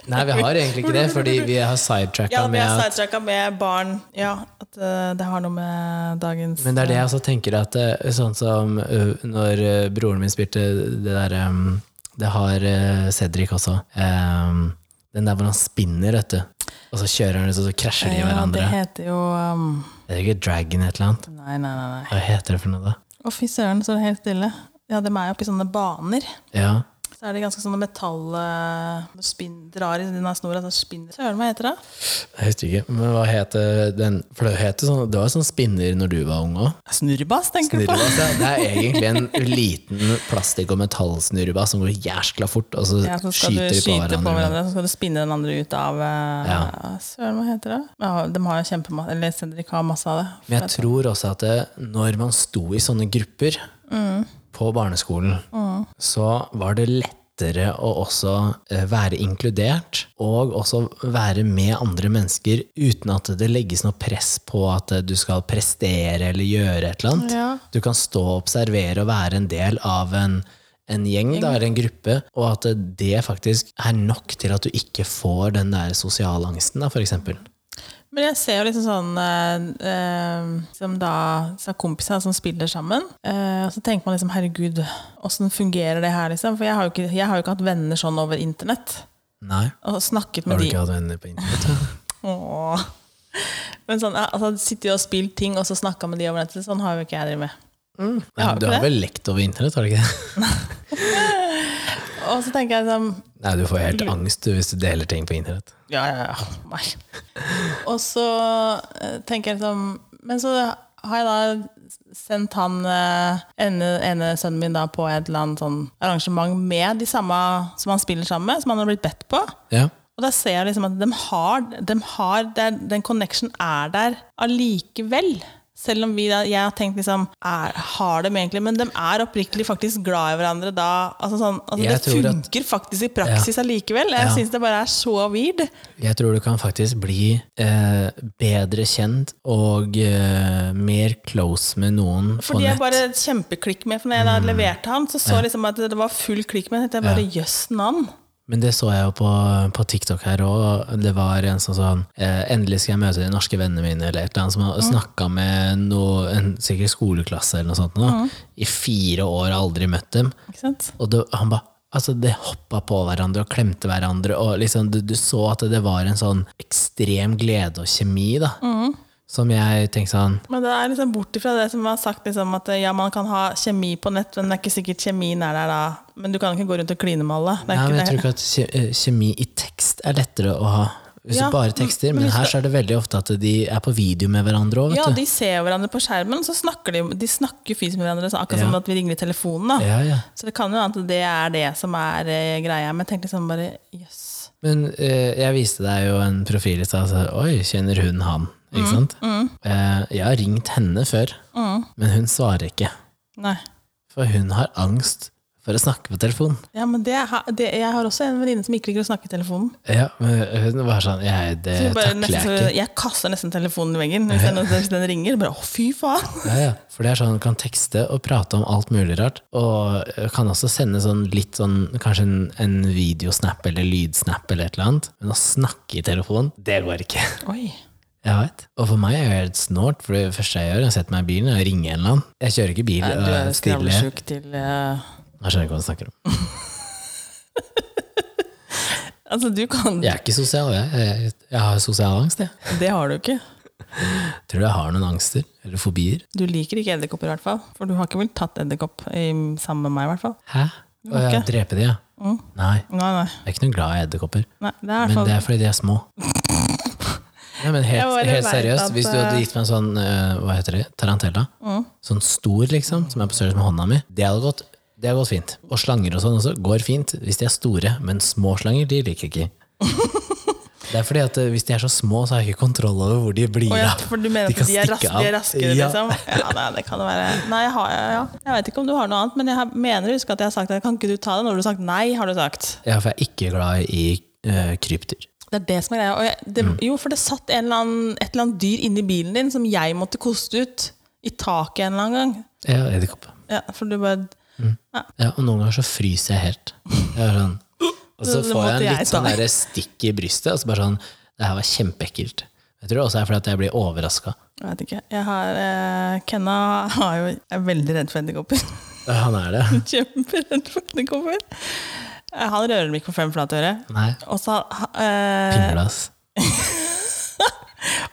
Nei, vi har egentlig ikke det, fordi vi har sidetracka Ja, vi med er at sidetracka med barn. Ja, at eh, det har noe med dagens Men det er det jeg også tenker at eh, sånn som eh, når eh, broren min spilte det der eh, Det har eh, Cedric også. eh, den der hvor han spinner, vet du. Og så kjører han ut, og så krasjer de i Ja, det hverandre. heter jo um, Er det ikke Dragon et eller annet? Nei, nei, nei. nei. Hva heter det for noe, da? Å, fy søren, så er det helt stille. Ja, de er jo oppe i sånne baner. Ja, Så er det ganske sånne metall eh, når spinn, Drar i denne snora, så spinner Søren, hva heter det? jeg husker ikke. Men hva heter den? For det, heter sånn, det var jo sånn spinner når du var ung òg. Snurrebass, tenker du på? Snurrebass, ja. Det er egentlig en liten plastikk- og metallsnurrebass som går jæskla fort, og så, Ja, så skal skyter de du på skyte på hverandre. hverandre, så skal du spinne den andre ut av eh, Ja. Søren, hva heter det? Ja, de har jo kjempemasse Eller Cedric har masse av det. Men jeg tror også at det, når man sto i sånne grupper på barneskolen, så var det lettere å også eh, være inkludert, og også være med andre mennesker uten at det legges noe press på at eh, du skal prestere eller gjøre et eller annet. Ja. Du kan stå og observere og være en del av en, en gjeng, da, eller en gruppe, og at eh, det faktisk er nok til at du ikke får den der sosiale angsten, da, for eksempel. Men jeg ser jo liksom sånn eh, eh, Som da så er kompiser som spiller sammen. eh, og så tenker man liksom 'herregud, åssen fungerer det her', liksom? For jeg har, jo ikke, jeg har jo ikke hatt venner sånn over internett. Nei. Og snakket med Har du de ikke hatt venner på internett? da? Åh. Men sånn, ja, altså sitter jo og spilt ting, og så snakka med de over nettet. Sånn har jo ikke jeg drevet med. Nei, har men ikke du har det. vel lekt over internett, har du ikke [LAUGHS] det? Og så tenker jeg liksom Nei, du får helt angst du, hvis du deler ting på internett. Ja, ja, ja. Nei. Og så eh, tenker jeg liksom Men så har jeg da sendt han eh, ene, ene sønnen min da på et eller annet sånn arrangement med de samme som han spiller sammen med, som han har blitt bedt på. Ja. Og da ser jeg liksom at de har, de har det er- den connection er der allikevel. Selv om vi da, jeg har tenkt liksom er, Har dem egentlig? Men de er oppriktig faktisk glad i hverandre da. Altså sånn, altså Jeg det tror at- funker faktisk i praksis allikevel. Jeg Ja. syns det bare er så weird. Jeg tror du kan faktisk bli eh, bedre kjent og eh, mer close med noen på Fordi jeg nett. bare kjempeklikk med, for når jeg Mm. da leverte han, så så jeg liksom at det var full klikk med. Jeg bare, jøss navn. Men det så jeg jo på, på TikTok her òg. Det var en sånn sånn eh, Endelig skal jeg møte de norske vennene mine, eller et eller annet, som har Mm. snakka med noe, en sikkert skoleklasse eller noe sånt nå, Mm. i fire år og aldri møtt dem. Ikke sant? Og det, han ba, altså det hoppa på hverandre og klemte hverandre. Og liksom, du, du så at det var en sånn ekstrem glede og kjemi, da. Mm. Som jeg tenkte sånn Men det er liksom bort ifra det som var sagt, liksom, at ja, man kan ha kjemi på nett, men det er ikke sikkert kjemien er der da. Men du kan ikke gå rundt og kline med alle. Det Nei, er men ikke jeg det. tror ikke at kje- eh, kjemi i tekst er lettere å ha. Hvis Ja, du bare tekster, men her så er det veldig ofte at de er på video med hverandre òg, Ja, vet du. de ser jo hverandre på skjermen, så snakker de, de snakker fysisk med hverandre, så akkurat Ja. som at vi ringer i telefonen. da. Ja, ja. Så det kan jo være at det er det som er eh, greia. Men jeg tenkte liksom bare, jøss. Men eh, jeg viste deg jo en profil i stad. så Oi, kjenner hun han? Ikke Mm, sant? Eh, jeg har ringt henne før, men hun svarer ikke. Nei. For hun har angst for å snakke på telefon. Ja, men det, har- det, jeg har også en venninne som ikke liker å snakke i telefonen. Ja, men hun var sånn Jeg, det Så bare takler nesten, jeg ikke. jeg kaster nesten telefonen i veggen [LAUGHS] hvis, den, hvis den ringer. Bare, å, fy faen! Ja, ja. For det er sånn, kan tekste og prate om alt mulig rart. Og kan også sende sånn litt sånn Kanskje en, en videosnap eller lydsnap eller et eller annet. Men å snakke i telefon, det går ikke. Oi. Jeg vet. Og for meg er det helt snålt, for det første jeg gjør, er å sette meg i bilen og ringe en eller annen. Jeg kjører ikke bil. Nei, du og er er stille. skravlesjuk til eh, Jeg skjønner ikke hva du snakker om. Altså, du kan Jeg er ikke sosial, jeg. Jeg, jeg har sosial angst, jeg. Det har du ikke. Tror jeg har noen angster eller fobier. Du liker ikke edderkopper, i hvert fall. For du har ikke vel tatt edderkopp i- sammen med meg, i hvert fall. Hæ? Å ja, Ok. drepe de, ja? Nei. Nei, nei. Jeg er ikke noe glad i edderkopper. nei det er i hvert Men fall det er fordi de er små. Nei, men helt, Jeg bare helt vet seriøst, at, Mm. hvis du hadde gitt meg en sånn eh, Hva heter det? Tarantella? Sånn stor, liksom, som er på størrelse med hånda mi. Det hadde gått, det hadde gått fint. Og slanger og sånn også går fint hvis de er store, men små slanger de liker jeg ikke. Det er fordi at eh, Hvis de er så små, så har jeg ikke kontroll over hvor de blir Å ja, av. for du mener kan at de er, stikke raske, av. de er raskere, Ja. liksom? Ja, nei, det kan det være. Nei, jeg har jeg, ja. Jeg vet ikke om du har noe annet, men jeg har- mener å huske at jeg har sagt at kan ikke du ta det? Når du har sagt nei, har du sagt. Ja, for jeg er ikke glad i eh, krypdyr. Det er det som er greia. Og jeg, Mm. det, Jo, for det satt en eller annen, et eller annet dyr inni bilen din som jeg måtte koste ut i taket en eller annen gang. Ja, edderkopp. Ja, for du bare Ja, og noen ganger så fryser jeg helt. Jeg er sånn, og så Det- det får måtte jeg en jeg litt ta. sånn der stikk i brystet, og så bare sånn Det her var kjempeekkelt. Jeg tror det også er fordi at jeg blir overraska. Jeg vet ikke. Jeg har, eh, Kenna har jo, er veldig redd for edderkopper. Han er det. Kjemperedd for edderkopper. Eh, Han rører dem ikke på fem flate øre. Nei. Og så, [LAUGHS] eh, Pingla, ass.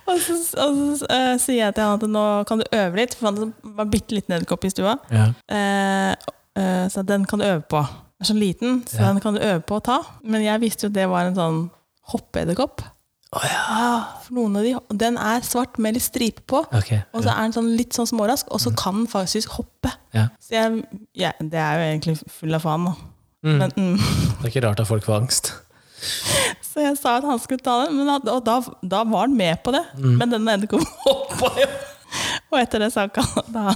og så, og så eh, sier jeg til han at nå kan du øve litt, for han sånn- var en bitte liten edderkopp i stua. Ja. Eh, eh, så den kan du øve på. Den er så liten, så Ja. den kan du øve på å ta. Men jeg visste jo det var en sånn hoppeedderkopp. Å ja. Ah, for noen av de, den er svart med litt stripe på, Ok. og så er den sånn litt sånn smårask, og Mm. så kan den faktisk hoppe. Ja. Så jeg, ja, det er jo egentlig full av faen, da. Mm. Men, mm. Det er ikke rart at folk får angst. Så jeg sa at han skulle ta den, men at, og da, da var han med på det. Mm. Men den [LAUGHS] edderkoppen hoppa jo! Og etter det sa han da,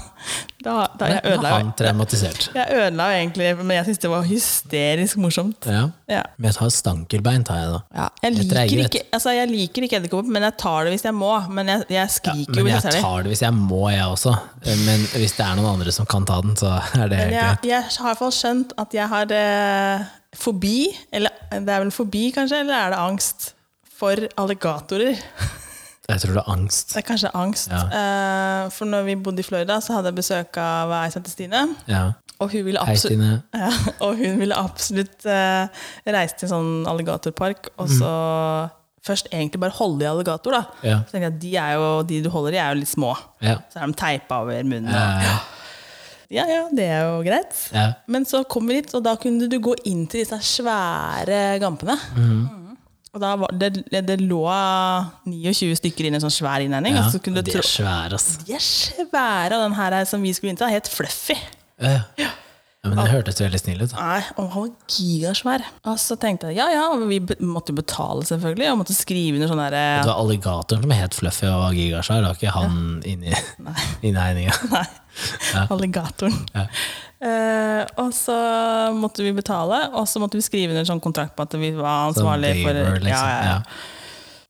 da, da Jeg Da er ødela jo Han traumatisert. jeg ødela jo egentlig, men jeg syntes det var hysterisk morsomt. Ja. Ja. Men jeg tar stankelbein, tar jeg da. Ja, jeg, Jeg dreier liker et. ikke, altså jeg liker ikke edderkopper, men jeg tar det hvis jeg må. Men jeg, jeg skriker jo Men hvis jeg jeg ser det. tar det hvis jeg må, jeg også. Men hvis det er noen andre som kan ta den, så er det Men jeg, greit. jeg har i hvert fall skjønt at jeg har eh, fobi, eller det er vel fobi kanskje, eller er det angst for alligatorer? Jeg tror det er angst. Det er kanskje angst. Ja. Eh, for når vi bodde i Florida, så hadde jeg besøk av ei som heter Stine, Ja. og hun ville Hei, absolutt Stine. [LAUGHS] Ja, og hun ville absolutt eh, reise til en sånn alligatorpark, og så først egentlig bare holde i alligator, da. Mm. Ja. Så tenkte jeg at de, er jo, de du holder i, er jo litt små. Ja. Så er de teipa over munnen. Ja. ja. Ja, ja, det er jo greit. ja. Men så kom vi dit, og da kunne du gå inn til disse svære gampene. Mm. Mhm. Og da var det, det lå 29 stykker inne i en sånn svær innhegning. Ja, og så kunne du de tro... er svære, ass. De er svære, og den her som vi skulle inn til, er helt fluffy. Ja. ja. Øh. Ja, men den hørtes veldig snill ut. da. Nei, og han var gigasvær. Og så tenkte jeg, ja ja, og vi be- måtte jo betale selvfølgelig, og måtte skrive under sånn Det derre var alligatoren som het Fluffy og var gigasvær, det var ikke han [LAUGHS] inni innhegninga. [LAUGHS] Nei, alligatoren. Eh, og så måtte vi betale, og så måtte vi skrive under sånn kontrakt på at vi var ansvarlig for Beaver, liksom. ja, ja, ja. Ja.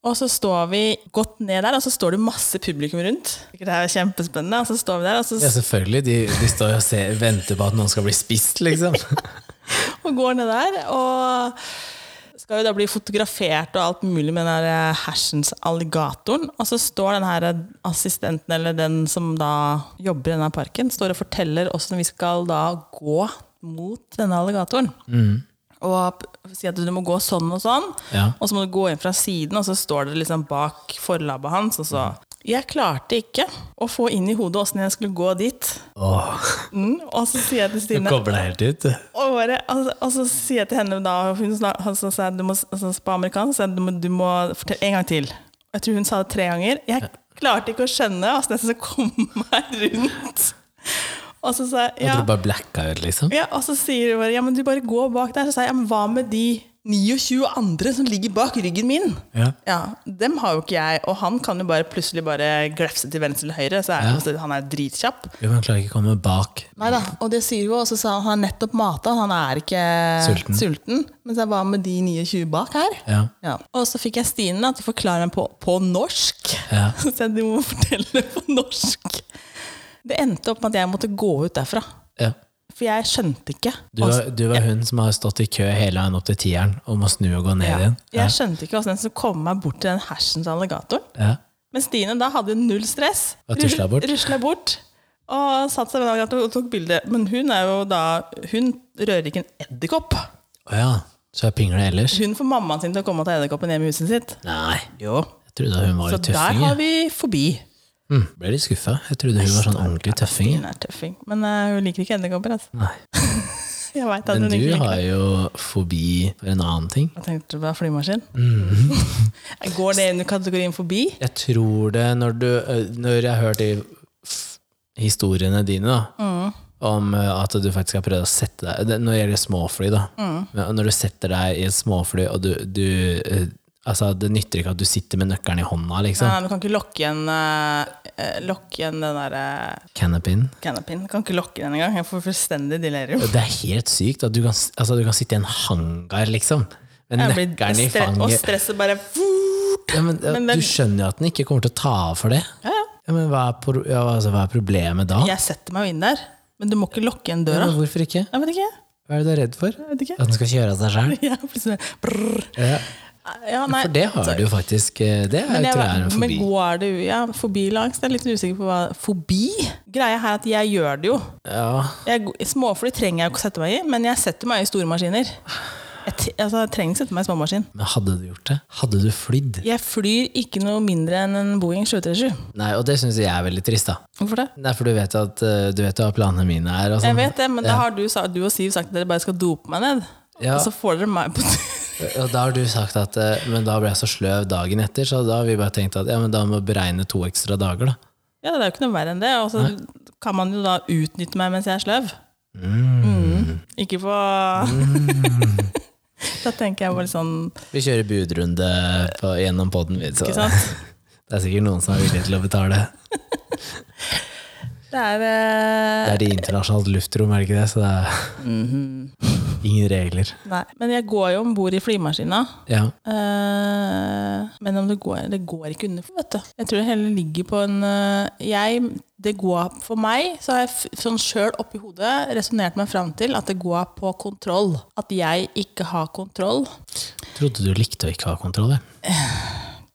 Og så står vi godt ned der, og så står det masse publikum rundt. Det er kjempespennende. Og så står vi der, og så Ja, selvfølgelig. De, de står jo og ser, venter på at noen skal bli spist, [LAUGHS] liksom. og går ned der. Og skal jo da bli fotografert og alt mulig med den der hersens alligatoren. Og så står den her assistenten, eller den som da jobber i denne parken, står og forteller hvordan vi skal da gå mot denne alligatoren. Og p- si at du må gå sånn og sånn, Ja. og så må du gå inn fra siden, og så står det liksom bak forlabbet hans, og så Jeg klarte ikke å få inn i hodet åssen jeg skulle gå dit. Åh, Mm, og så sier jeg til du Stine kobler deg helt ut. og, bare, altså, og så sier jeg til henne da hun snak, altså, sa jeg, du må, altså, På amerikansk sa jeg, du må, du må fortelle en gang til. Og Jeg tror hun sa det tre ganger. Jeg klarte ikke å skjønne altså, nesten så kom meg rundt. Og så sa jeg Og ja. du bare blacka ut, liksom. ja, og så sier hun bare ja, men du bare går bak der. Så sa jeg ja, men hva med de 29 andre som ligger bak ryggen min? Ja. dem har jo ikke jeg, og han kan jo bare plutselig bare glefse til venstre eller høyre. Så er, Ja. altså, han er dritkjapp. Jo, men han klarer ikke å komme bak. Nei da, og det sier hun, og så sa han han er nettopp mata, han er ikke Sulten. Men så hva med de 29 bak her? Ja. Ja. Og så fikk jeg Stine da, til å forklare meg på, på norsk. [LAUGHS] Ja. Så sa jeg, du må fortelle på norsk. Det endte opp med at jeg måtte gå ut derfra. ja. For jeg skjønte ikke. Du, var, du var hun som har stått i kø hele veien opp til tieren og må snu og gå ned igjen. Ja. Jeg skjønte ikke hvordan jeg skulle komme meg bort til den hersens alligatoren. Ja. Men Stine da hadde null stress. Og tusla bort. Rusla bort. Og satt seg ved alligatoren og tok bilde. Men hun er jo da Hun rører ikke en edderkopp. Å ja, så jeg pingler ellers? Hun får mammaen sin til å komme og ta edderkoppen hjem i huset sitt. Nei, Jo. jeg trodde hun var Så litt der tøffing. har jeg. vi forbi. Mm, ble litt skuffa. Jeg trodde hun var sånn ordentlig tøffing. jeg. Hun er tøffing. Men eh, hun liker ikke edderkopper. Altså. Nei. Jeg vet at Men hun du ikke liker har det. jo fobi for en annen ting. Hva tenkte du på flymaskin? Mhm. [LAUGHS] Går det under kategorien forbi? Jeg tror det når, du, når jeg har hørt de f- historiene dine da, Mm. om eh, at du faktisk har prøvd å sette deg det- Når det gjelder småfly, da. Mm. Men Når du setter deg i et småfly, og du, du eh, Altså, det nytter ikke at du sitter med nøkkelen i hånda, Nei, liksom. nei, du kan ikke lokke igjen, eh, eh, lokke igjen den der eh, Canopyen. canopyen. Du kan ikke lokke den engang. Jeg får fullstendig delirium. Det er helt sykt at du kan, s- altså, du kan sitte i en hangar, liksom. Med Jeg blir nøkkelen i stre og fanget. stresset bare Ja, men, ja, Men den- du skjønner jo at den ikke kommer til å ta av for det. Ja, ja. Ja, men hva er, pro ja, altså, hva er problemet da? Jeg setter meg jo inn der, men du må ikke lokke igjen Ja, døra. men hvorfor ikke? Jeg vet ikke. Hva er du er redd for? Jeg vet ikke. [LAUGHS] At den skal kjøre av seg sjøl? Jeg er plutselig brrr. Ja. Ja, nei. altså- For det har du jo faktisk. eh, Det er, Men, jeg, tror jeg er en men fobi. går det ja, fobilangst? Jeg er litt usikker på hva Fobi? Greia her er at jeg gjør det jo. Ja, Jeg, småfly trenger jeg jo ikke å sette meg i, men jeg setter meg i store maskiner. Jeg, t- altså, jeg trenger ikke sette meg i småmaskin. men hadde du gjort det? Hadde du flydd? Jeg flyr ikke noe mindre enn en Boeing 737. Nei, og det syns jeg er veldig trist, da. Hvorfor det? Nei, for du vet at eh, du vet jo hva planene mine er. Og sånn. Jeg vet det, men da har du, sa- du og Siv sagt at dere bare skal dope meg ned. Ja. Og så får dere meg på Og da har du sagt at eh, Men da ble jeg så sløv dagen etter, så da har vi bare tenkt at ja, men da må vi beregne to ekstra dager, da. [LAUGHS] Ja, det er jo ikke noe verre enn det. Og så kan man jo da utnytte meg mens jeg er sløv. Mm. Ikke på Mm. [LAUGHS] Da tenker jeg bare sånn Vi kjører budrunde på, gjennom poden, vi. Så Ikke det sant? er sikkert noen som er villige til å betale. Det er Det eh, er de internasjonalt luftrom, er det ikke det? Så det er ingen regler. Mhm. Nei. Men jeg går jo om bord i flymaskina. Ja. Eh, men om det går Det går ikke under, vet du. Jeg tror det hele ligger på en eh, Jeg Det går for meg, så har jeg f sånn sjøl oppi hodet resonnert meg fram til at det går på kontroll. At jeg ikke har kontroll. Trodde du likte å ikke ha kontroll, jeg.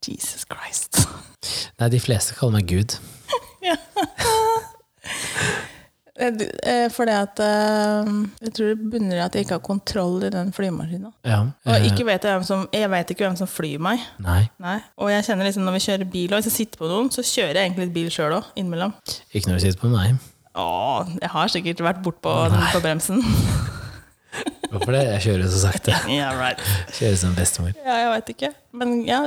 Jesus Christ. Nei, de fleste kaller meg Gud. Eh, du- eh, Fordi at eh, Jeg tror det bunner i at jeg ikke har kontroll i den flymaskina. Ja. Og eh, ikke vet jeg, hvem som, jeg vet ikke hvem som flyr meg. Nei, Nei. Og jeg kjenner liksom når vi kjører bil, og hvis jeg sitter på noen, så kjører jeg egentlig litt bil sjøl òg, innimellom. ikke når du sitter på meg. Å, jeg har sikkert vært bortpå den på bremsen. Hvorfor det? Jeg kjører så sakte. yeah, right. Kjører som bestemor. Ja, jeg veit ikke. Men ja,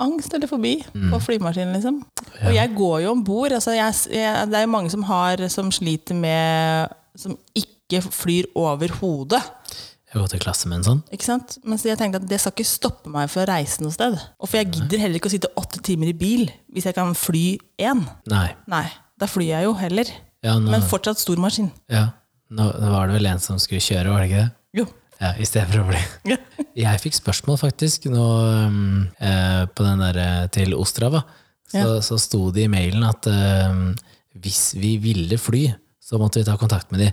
angst eller fobi på flymaskinen, liksom. Og jeg går jo om bord. Altså jeg, jeg, det er jo mange som, har, som sliter med Som ikke flyr over hodet. Jeg har gått i klasse med en sånn. Ikke sant? Men så jeg tenkte at det skal ikke stoppe meg for å reise noe sted. Og for jeg gidder heller ikke å sitte åtte timer i bil hvis jeg kan fly én. Nei. Nei, da flyr jeg jo heller. Ja, nå, Men fortsatt stor maskin. ja. nå, nå var det vel en som skulle kjøre, var det ikke det? Jo. Ja, I stedet for å bli Jeg fikk spørsmål faktisk nå, um, eh, på den der eh, til Ostrava. Så, så sto det i mailen at um, hvis vi ville fly, så måtte vi ta kontakt med de.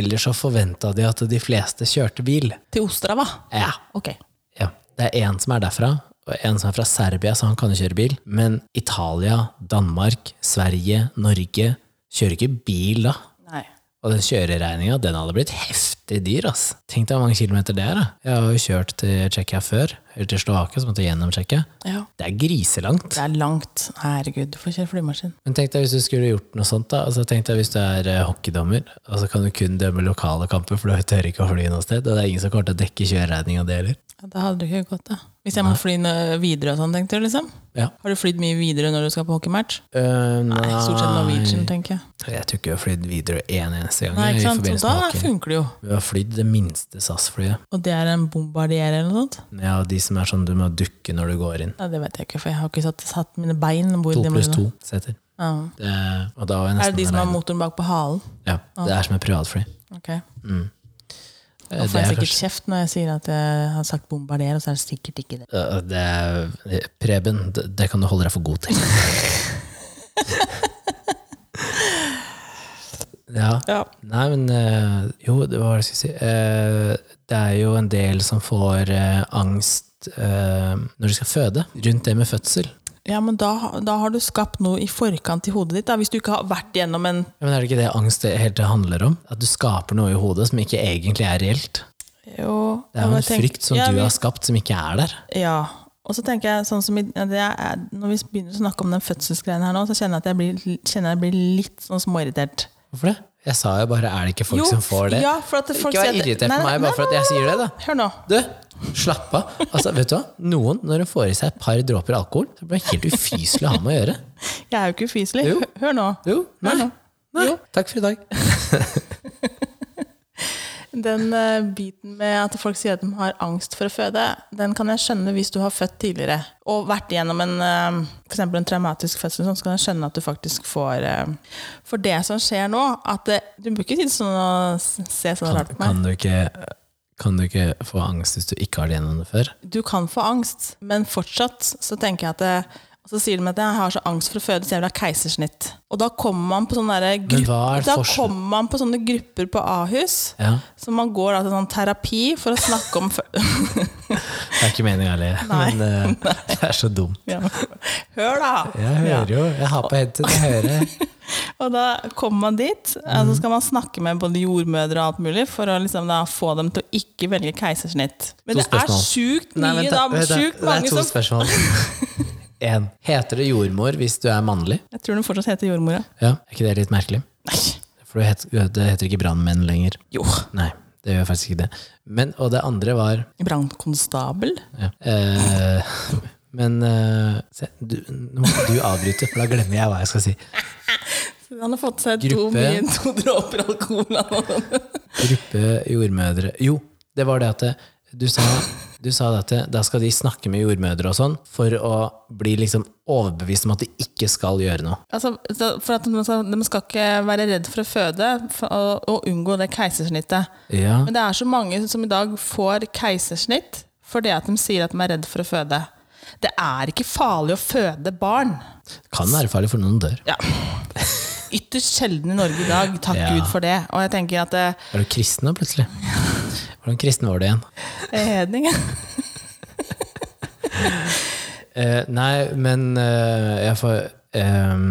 Ellers så forventa de at de fleste kjørte bil. Til Ostrava. Ja, Ok. ja. Det er én som er derfra, og en som er fra Serbia, så han kan jo kjøre bil. Men Italia, Danmark, Sverige, Norge kjører ikke bil da. Nei. Og den kjøreregninga, den hadde blitt heftig dyr, ass. Tenk deg hvor mange kilometer det er, da. Jeg har jo kjørt til Tsjekkia før, eller til Slovakia, så måtte jeg gjennom Tsjekkia. Ja. Det er griselangt. Det er langt. Herregud, du får kjøre flymaskin. Men tenk deg hvis du skulle gjort noe sånt, da. Altså, tenk deg hvis du er eh, hockeydommer, og så kan du kun dømme lokale kamper, for du tør ikke å fly noe sted, og det er ingen som kommer til å dekke kjøreregninga di heller. Ja, da hadde det ikke gått, da. Hvis jeg må fly nå- videre og sånn, tenkte du liksom? Ja. Har du flydd mye videre når du skal på hockeymatch? Øh, Nei, stort sett Norwegian, nei. tenker jeg. Jeg tror ikke jeg har flydd videre en eneste gang. Nei, jeg, ikke sant? i Og forbindelse med da hockey. funker det jo. Vi har flydd det minste SAS-flyet. Og det er en bombardier eller noe sånt? Ja, de som er sånn du må dukke når du går inn. Nei, det vet jeg ikke, for jeg har ikke satt, satt mine bein hvor To det pluss må- to seter. Ja. Det, og da var jeg Er Ah. nesten det de som har alene. motoren bak på halen? Ja, det er som et privatfly. Ok. Eh, Da får Det jeg er, sikkert kjeft når jeg sier at jeg har sagt bombarder, og så er det sikkert ikke det. kanskje- Eh, det er, Preben, det, det kan du holde deg for god [LAUGHS] til. ja. Ja. Nei, men eh, Jo, det var det jeg skulle si. Eh, det er jo en del som får eh, angst eh, når de skal føde, rundt det med fødsel. Ja, men da, da har du skapt noe i forkant i hodet ditt, da, hvis du ikke har vært gjennom en Ja, Men er det ikke det angst det helt handler om? At du skaper noe i hodet som ikke egentlig er reelt? jo, Det er jo en frykt som du har skapt, som ikke er der. Ja. Og så tenker jeg, sånn som i, ja, det er, Når vi begynner å snakke om den fødselsgreien her nå, så kjenner jeg at jeg blir, kjenner jeg blir litt sånn småirritert. Hvorfor det? Jeg sa jo bare 'er det ikke folk som får det'? Ja, for at folk ikke vær sier at- irritert Nei, på nei, meg bare nei, for at jeg sier det, da. Hør nå. Du, slapp av. Altså, vet du hva? Noen, når de får i seg et par dråper alkohol, så blir det helt ufyselig å ha med å gjøre. Jeg er jo ikke ufyselig. Jo. Hør- Hør nå. Jo, nei. Hør nå. nei. Takk for i dag. Den eh, biten med at folk sier at de har angst for å føde, den kan jeg skjønne hvis du har født tidligere og vært igjennom en, eh, for eksempel en traumatisk fødsel, sånn, så kan jeg skjønne at du faktisk får eh, For det som skjer nå, at eh, Du bør ikke si det sånn og s- se sånn rart Kan, på meg. kan, du ikke, kan du ikke få angst hvis du ikke har det gjennom det før? Du kan få angst, men fortsatt så tenker jeg at det, og så sier de at jeg har så angst for å føde, så jeg vil ha keisersnitt. Og da kommer man på sånne, der eh, Men hva er da forskjell- kommer man på sånne grupper på Ahus. Ja, Så man går da til sånn terapi for å snakke om fø- Det er ikke meninga heller, Nei. men [LAUGHS] eh, det er så dumt. Ja. Hør, da! Jeg hører Ja. jo, jeg har på headset, jeg hører. [LAUGHS] Og da kommer man dit, og Mm. så skal man snakke med både jordmødre og alt mulig for å liksom da få dem til å ikke velge keisersnitt. Men To det er spørsmål. sjukt mye, Nei, vent da, da. vent da, Sjukt det er mange to som spørsmål. [LAUGHS] En. Heter det jordmor hvis du er mannlig? Jeg tror den fortsatt heter jordmora. Ja, Er ikke det litt merkelig? Nei. For du het- det heter ikke brannmenn lenger. Jo. Nei, det gjør faktisk ikke det. Men, og det andre var Brannkonstabel? ja. eh, Men eh, se, du, nå må du avbryte, for da glemmer jeg hva jeg skal si. Han har fått seg to, Gruppe. mye, to dråper alkohol. av- Gruppe jordmødre Jo, det var det at det, du sa du sa det at det, da skal de snakke med jordmødre og sånn for å bli liksom overbevist om at de ikke skal gjøre noe. [LAUGHS] Altså, så- for at de skal, de skal ikke være redd for å føde for å, og unngå det keisersnittet. Ja, Men det er så mange som i dag får keisersnitt fordi at de sier at de er redd for å føde. Det er ikke farlig å føde barn. Kan være farlig, for noen dør. Ja. Ytterst sjelden i Norge i dag, takk Ja. Gud for det. Og jeg tenker at eh, Er du kristen nå, plutselig? Hvordan kristen var du igjen? jeg er hedning. Eh, nei, men eh, jeg får ehm,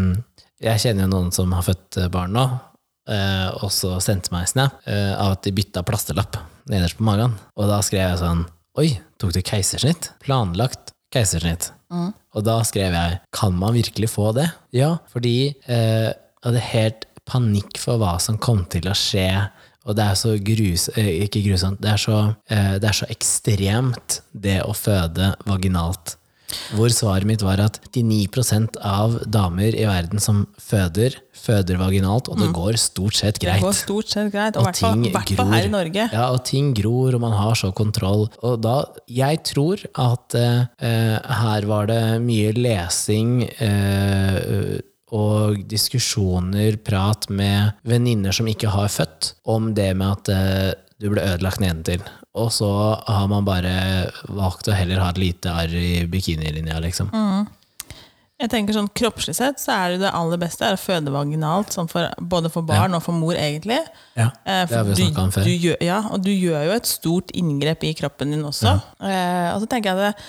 Jeg kjenner jo noen som har født eh, barn nå, eh, og så sendte meg en snap eh, av at de bytta plasterlapp nederst på magen. Og da skrev jeg sånn Oi, tok du keisersnitt? Planlagt keisersnitt. Og da skrev jeg Kan man virkelig få det? Ja, fordi eh, jeg hadde helt panikk for hva som kom til å skje. Og det er så grus, eh, ikke grusomt, det er så, eh, det er så ekstremt det å føde vaginalt. Hvor svaret mitt var at 99 av damer i verden som føder, føder vaginalt, og det går stort sett Mm. Det greit. går stort sett greit. Og i Og hvert fall- ting i hvert fall her i Norge. Ja, og ting gror, og man har så kontroll. Og da, jeg tror at eh, eh, her var det mye lesing eh, og diskusjoner, prat med venninner som ikke har født, om det med at eh, du ble ødelagt nedentil. Og så har man bare valgt å heller ha et lite arr i bikinilinja, liksom. Mm. Jeg tenker sånn Kroppslig sett så er det det aller beste er å føde vaginalt, sånn for, både for barn og for mor, egentlig. Ja, Eh, det har vi for snakka om før. Du gjør, ja, og du gjør jo et stort inngrep i kroppen din også. Eh, og så tenker jeg at det,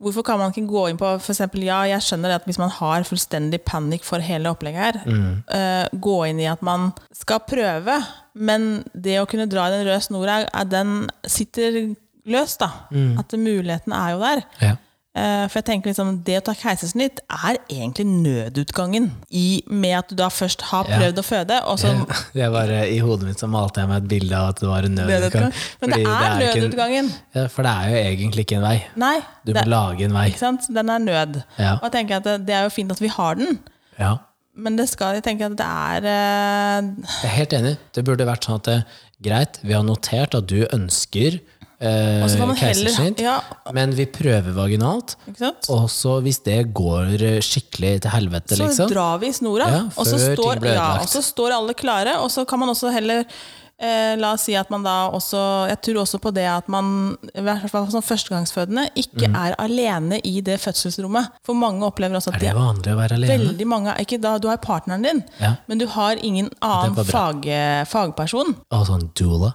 hvorfor kan man ikke gå inn på for eksempel, ja, jeg skjønner det at hvis man har fullstendig panikk for hele opplegget her, Mm. eh, gå inn i at man skal prøve, men det å kunne dra i den røde snora, er- den sitter løst, da. Mm. At muligheten er jo der. Ja. Eh, For jeg tenker liksom, Det å ta keisersnitt er egentlig nødutgangen i, med at du da først har Ja. prøvd å føde, og så [LAUGHS] Jeg bare, I hodet mitt så malte jeg meg et bilde av at det var en nødutgang. nødutgang. Men det Fordi er jo ikke en- nødutgangen! Ja, for det er jo egentlig ikke en vei. Nei, Du det, må lage en vei. ikke sant? den er nød. Ja. Og jeg tenker at det, det er jo fint at vi har den, Ja. men det skal, jeg tenker at det er eh, Jeg er helt enig. Det burde vært sånn at det, greit, vi har notert at du ønsker eh, Og så får man heller- keisersnitt, ja. men vi prøver vaginalt. Ikke sant? Og så hvis det går eh, skikkelig til helvete, Så liksom drar vi i snora, Ja, og, så før ting står, blir ja, ødelagt. og så står alle klare. Og så kan man også heller eh, La oss si at man da også Jeg tror også på det at man, i hvert fall som førstegangsfødende, ikke Mm. er alene i det fødselsrommet. For mange opplever også at Er det vanlig å være alene? veldig mange Ikke da, du har partneren din, Ja. men du har ingen annen var bra. fag, eh, fagperson. Og sånn doula?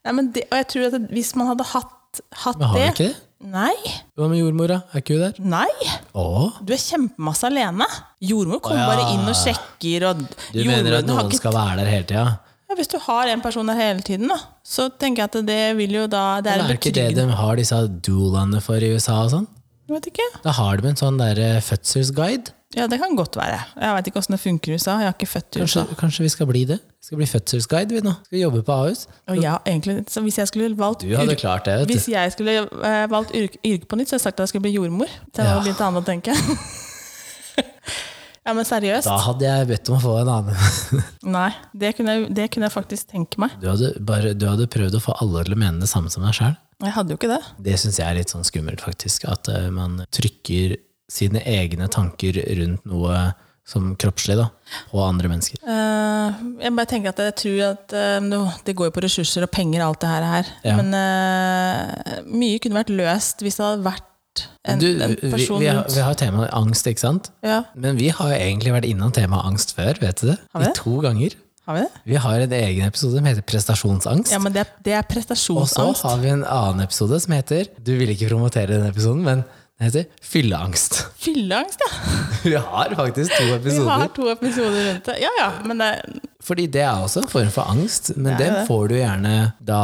Nei, men det, og jeg tror at det- hvis man hadde hatt, hatt Men har vi det ikke det? Nei. Hva med jordmora? Er ikke hun der? Nei. Å? Du er kjempemasse alene. Jordmor kommer Å, ja. bare inn og sjekker. Og Du mener at jordmødrene har noen ikke skal være der hele tida? Ja, hvis du har en person der hele tiden, da, så tenker jeg at det vil jo da Det er Er en det ikke det betryggende de har disse doulaene for i USA og sånn? Jeg vet ikke. Da har de en sånn der eh, fødselsguide Ja, det kan godt være. Jeg veit ikke åssen det funker i USA. Jeg har ikke født i USA. Kanskje, kanskje vi skal bli det? Vi skal bli fødselsguide vi nå. Skal vi jobbe på Ahus. Og jeg, har egentlig, så hvis jeg skulle valgt Du hadde yrke- klart det, vet Hvis du. jeg skulle eh, valgt yrke, yrke på nytt, så hadde jeg sagt at jeg skulle bli jordmor. Det var Ja. jo litt annet å tenke. [LAUGHS] ja, men seriøst. Da hadde jeg bedt om å få en [LAUGHS] annen. Nei, det kunne, jeg, det kunne jeg faktisk tenke meg. Du hadde, bare, du hadde prøvd å få alle til å mene det samme som deg sjøl. Jeg hadde jo ikke det. Det syns jeg er litt sånn skummelt, faktisk. At eh, man trykker sine egne tanker rundt noe som kroppslig, da, på andre mennesker. Eh, jeg bare tenker at jeg tror at eh, nå- det går jo på ressurser og penger, alt det her. her. Ja. Men eh, mye kunne vært løst hvis det hadde vært en, Du, en vi, vi, person har, rundt. vi har temaet angst, ikke sant? Ja, Men vi har jo egentlig vært innom temaet angst før, vet du det? Har vi I det? to ganger. har vi det? Vi har en egen episode som heter prestasjonsangst. Ja, men det, er- det er og så prestasjonsangst. har vi en annen episode som heter Du vil ikke promotere den episoden, men den heter Fylleangst. [LAUGHS] Fylleangst, ja! Vi har faktisk to Vi episoder. har to episoder rundt det. Ja ja, men det, Fordi det er også en form for angst, men er den jo det. får du gjerne da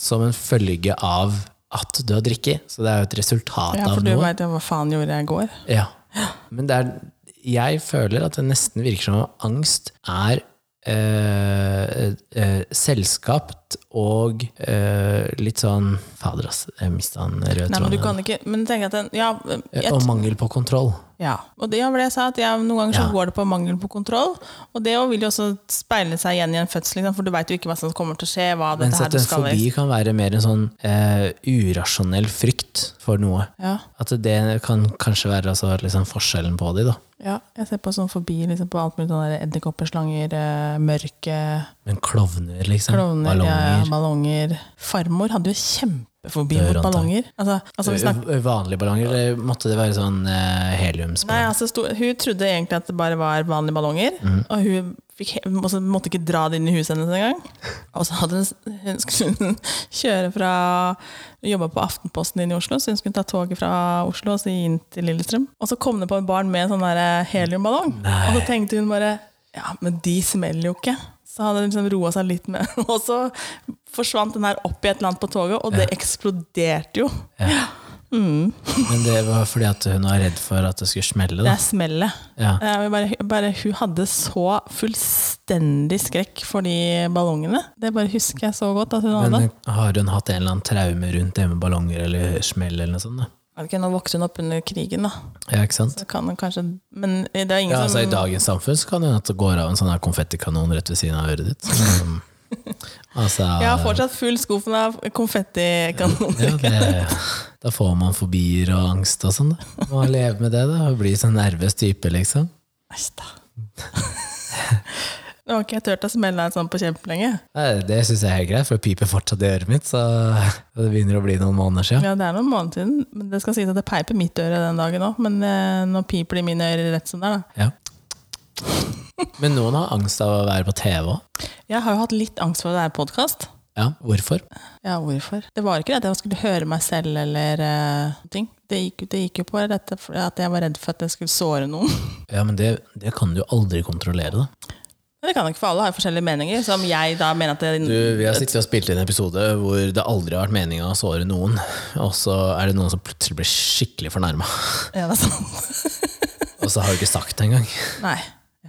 som en følge av at du har drikket. Så det er jo et resultat ja, for av du noe. veit jo hva faen gjorde jeg i går. Ja. Men det er, jeg føler at det nesten virker som om angst er eh, eh, selskapt og eh, litt sånn Fader, ass, jeg mista den røde Nei, men du tråden. kan ikke Men tenk at den Ja. Jeg, Og mangel på kontroll. ja. Og det var det jeg sa, at jeg, noen ganger så Ja. går det på mangel på kontroll. Og det jo vil jo også speile seg igjen i en fødsel, ikke sant, for du veit jo ikke hva som kommer til å skje. Hva dette Mens her at du en skal i. fobi kan være mer en sånn eh, urasjonell frykt for noe. Ja, At det kan kanskje være altså, liksom forskjellen på de, da. ja, jeg ser på sånn forbi liksom på alt mulig sånn der edderkopper, slanger, eh, mørke, Men klovner, liksom. klovner, ballonger. Ja, ballonger. ballonger. Farmor hadde jo kjempefobi Dør, mot antar ballonger. Altså, altså, vi snakker, Ø- Eh, Vanlige ballonger, eller måtte det være sånn eh, nei, heliumsballong? altså, sto, hun trodde egentlig at det bare var vanlige ballonger, og hun fikk, he- altså, måtte ikke dra det inn i huset hennes engang. Og så hadde hun, s- hun skulle hun kjøre fra Jobba på Aftenposten inn i Oslo, så hun skulle ta toget fra Oslo og så inn til Lillestrøm. Og så kom det på et barn med en sånn der eh, heliumballong, Nei. og så tenkte hun bare Ja, men de smeller jo ikke. Så hadde hun liksom roa seg litt med [LAUGHS] Og så forsvant den her opp i et eller annet på toget, og det eksploderte jo. Men det var fordi at hun var redd for at det skulle smelle, Det da. er smellet. Ja. Jeg vil Eh, bare, bare, hun hadde så fullstendig skrekk for de ballongene. Det bare husker jeg så godt at hun hadde. Men har hun hatt en eller annen traume rundt det med ballonger eller smell eller noe sånt? da? Ok, nå vokste hun opp under krigen, da. Ja, ikke sant? Så kan hun kanskje Men det er ingen Ja, altså I som dagens samfunn så kan det hende at det går av en sånn her konfettikanon rett ved siden av øret ditt. Sånn, [LAUGHS] altså, Jeg ja, har fortsatt full skuffen av konfettikanoner. det, da får man fobier og angst og sånn. da. Må leve med det da, og bli sånn nervøs type, liksom. Æsj, da. Nå har ikke jeg turt å smelle en sånn på kjempelenge. Nei, Det syns jeg er helt greit, for det piper fortsatt i øret mitt. Så [LAUGHS] det begynner å bli noen måneder siden. Ja, det er noen måneder siden. Men det skal sies at det peiper mitt øre den dagen òg, men eh, nå piper det i mine ører rett som det er, da. Ja. Men noen har angst av å være på TV òg. Jeg har jo hatt litt angst for å være podkast. Ja, hvorfor? Ja, hvorfor? Det var ikke det at jeg skulle høre meg selv eller eh, ting. Det gikk, det gikk jo på dette for- at jeg var redd for at jeg skulle såre noen. [LAUGHS] Ja, men det, det kan du jo aldri kontrollere, da. Men det kan jeg ikke, for alle har jo forskjellige meninger, som jeg da mener at det, Du, vi har sittet og spilt inn en episode hvor det aldri har vært meninga å såre noen, og så er det noen som plutselig blir skikkelig fornærma, ja, det er sant. og så har du ikke sagt det engang. Nei.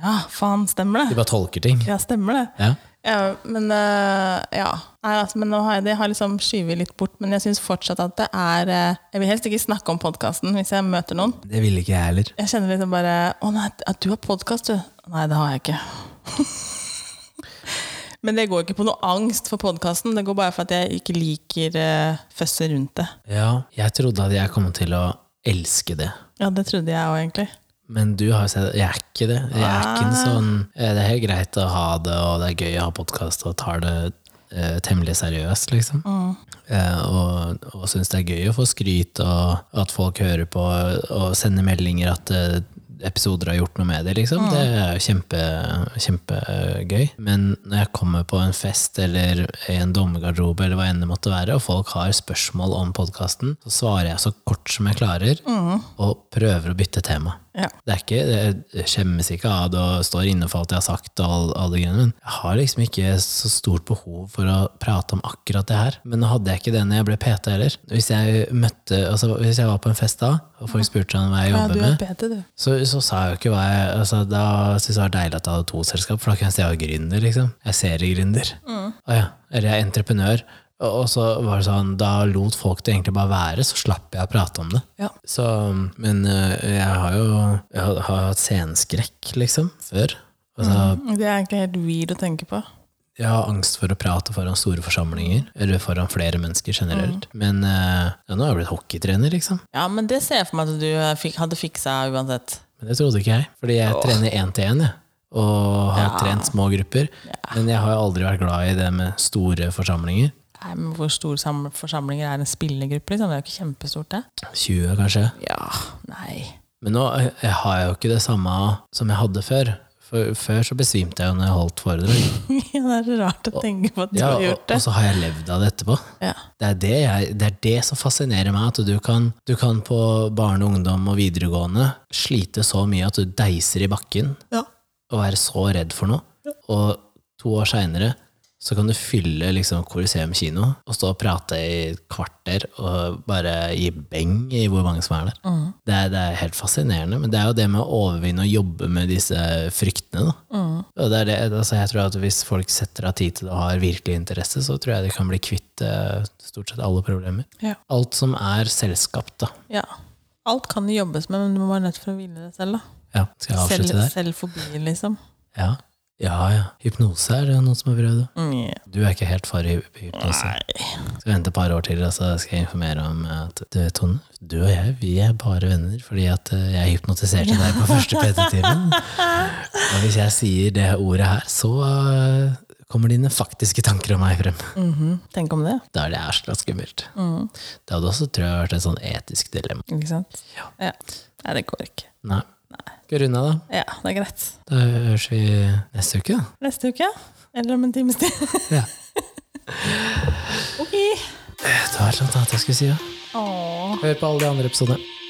Ja, faen, stemmer De det? bare tolker ting. Ja, stemmer det. Ja. Ja, men eh, ja. Nei, altså, men nå har jeg, det har liksom skyvet litt bort, men jeg syns fortsatt at det er eh, Jeg vil helst ikke snakke om podkasten hvis jeg møter noen. Det ville ikke jeg heller. Jeg kjenner liksom bare Å nei, at du har podkast, du. Nei, det har jeg ikke. [LAUGHS] Men det går ikke på noe angst for podkasten. Det går bare for at jeg ikke liker uh, føsset rundt det. Ja, jeg trodde at jeg kom til å elske det. Ja, det trodde jeg òg, egentlig. Men du har jo sett Jeg er ikke det. Jeg er ikke en sånn eh, Det er helt greit å ha det, og det er gøy å ha podkast, og tar det eh, temmelig seriøst, liksom. Eh, og og syns det er gøy å få skryt, og at folk hører på og sender meldinger at eh, episoder har gjort noe med det, liksom. Det er jo kjempe, kjempegøy. Men når jeg kommer på en fest eller i en dommegarderobe eller hva enn det måtte være, og folk har spørsmål om podkasten, så svarer jeg så kort som jeg klarer, og prøver å bytte tema. Ja. Det er ikke, jeg skjemmes ikke av det og står inne for alt jeg har sagt, og all, alle grunnene, men jeg har liksom ikke så stort behov for å prate om akkurat det her. Men nå hadde jeg ikke det når jeg ble PT heller. Hvis jeg møtte, altså hvis jeg var på en fest da, og folk spurte sånn hva jeg Ja, jobber du er med, PT, du. så, så sa jeg jo ikke hva jeg altså, Da syntes jeg det var deilig at jeg hadde to selskap, for da kan jeg si jeg er gründer, liksom. Jeg er seriegründer. Mm. Å ja. Eller jeg er entreprenør. Og og så var det sånn, da lot folk det egentlig bare være, så slapp jeg å prate om det. Ja. Så, men eh, jeg har jo jeg har, har hatt sceneskrekk, liksom, før. Altså, Det er egentlig helt weird å tenke på. Jeg har angst for å prate foran store forsamlinger, eller foran flere mennesker generelt. Mm. Men eh, ja, nå har jeg blitt hockeytrener, liksom. Ja, men det ser jeg for meg at du eh, fikk, hadde fiksa uansett. Men det trodde ikke jeg, fordi jeg trener én til én, jeg. Og har trent små grupper. Men jeg har jo aldri vært glad i det med store forsamlinger. Nei, men Hvor store sam- forsamlinger er en spillergruppe? Liksom? Det er jo ikke kjempestort, det. 20, kanskje. Ja, nei. [LAUGHS] Men nå eh, jeg har jeg jo ikke det samme som jeg hadde før. For, før så besvimte jeg jo når jeg holdt foredrag. det er så rart å tenke på at du Ja, har og, gjort det. og så har jeg levd av det etterpå. Ja. Det er det, jeg, det er det som fascinerer meg, at du kan, du kan på barne, ungdom og videregående slite så mye at du deiser i bakken Ja. og være så redd for noe. Og to år seinere så kan du fylle liksom Coliseum kino og stå og prate i et kvarter og bare gi beng i hvor mange som er der. Det, er, det er helt fascinerende, men det er jo det med å overvinne og jobbe med disse fryktene. Da. Og det er det, altså jeg tror at Hvis folk setter av tid til det og har virkelig interesse, så tror jeg de kan bli kvitt eh, stort sett alle problemer. Ja. Alt som er selskapt, da. ja. Alt kan det jobbes med, men du må være nødt for å hvile det selv. da. Ja, skal jeg Selv, avslutte der? selv forbi, liksom. Ja. ja, ja. Hypnose er det noen som har prøvd. da. Mm, ja. Du er ikke helt for hy- hypnose. altså. Skal vente et par år til, og så skal jeg informere om at du, Tone, du og jeg vi er bare venner fordi at eh, jeg hypnotiserte deg på første [LAUGHS] PT-timen. Og hvis jeg sier det ordet her, så eh, kommer dine faktiske tanker om meg frem. Mhm. Tenk om det. Da er det ærsla skummelt. Det hadde også tror jeg, vært et sånn etisk dilemma. Ikke sant? Ja. Nei, det går ikke. Nei. Skal vi runde av, da? Ja, det er greit. Da høres vi neste uke, da. Neste uke, eller om en times tid. Ja. ok. Eh, Det var et eller annet annet jeg skulle si, ja. Åh. Hør på alle de andre episodene.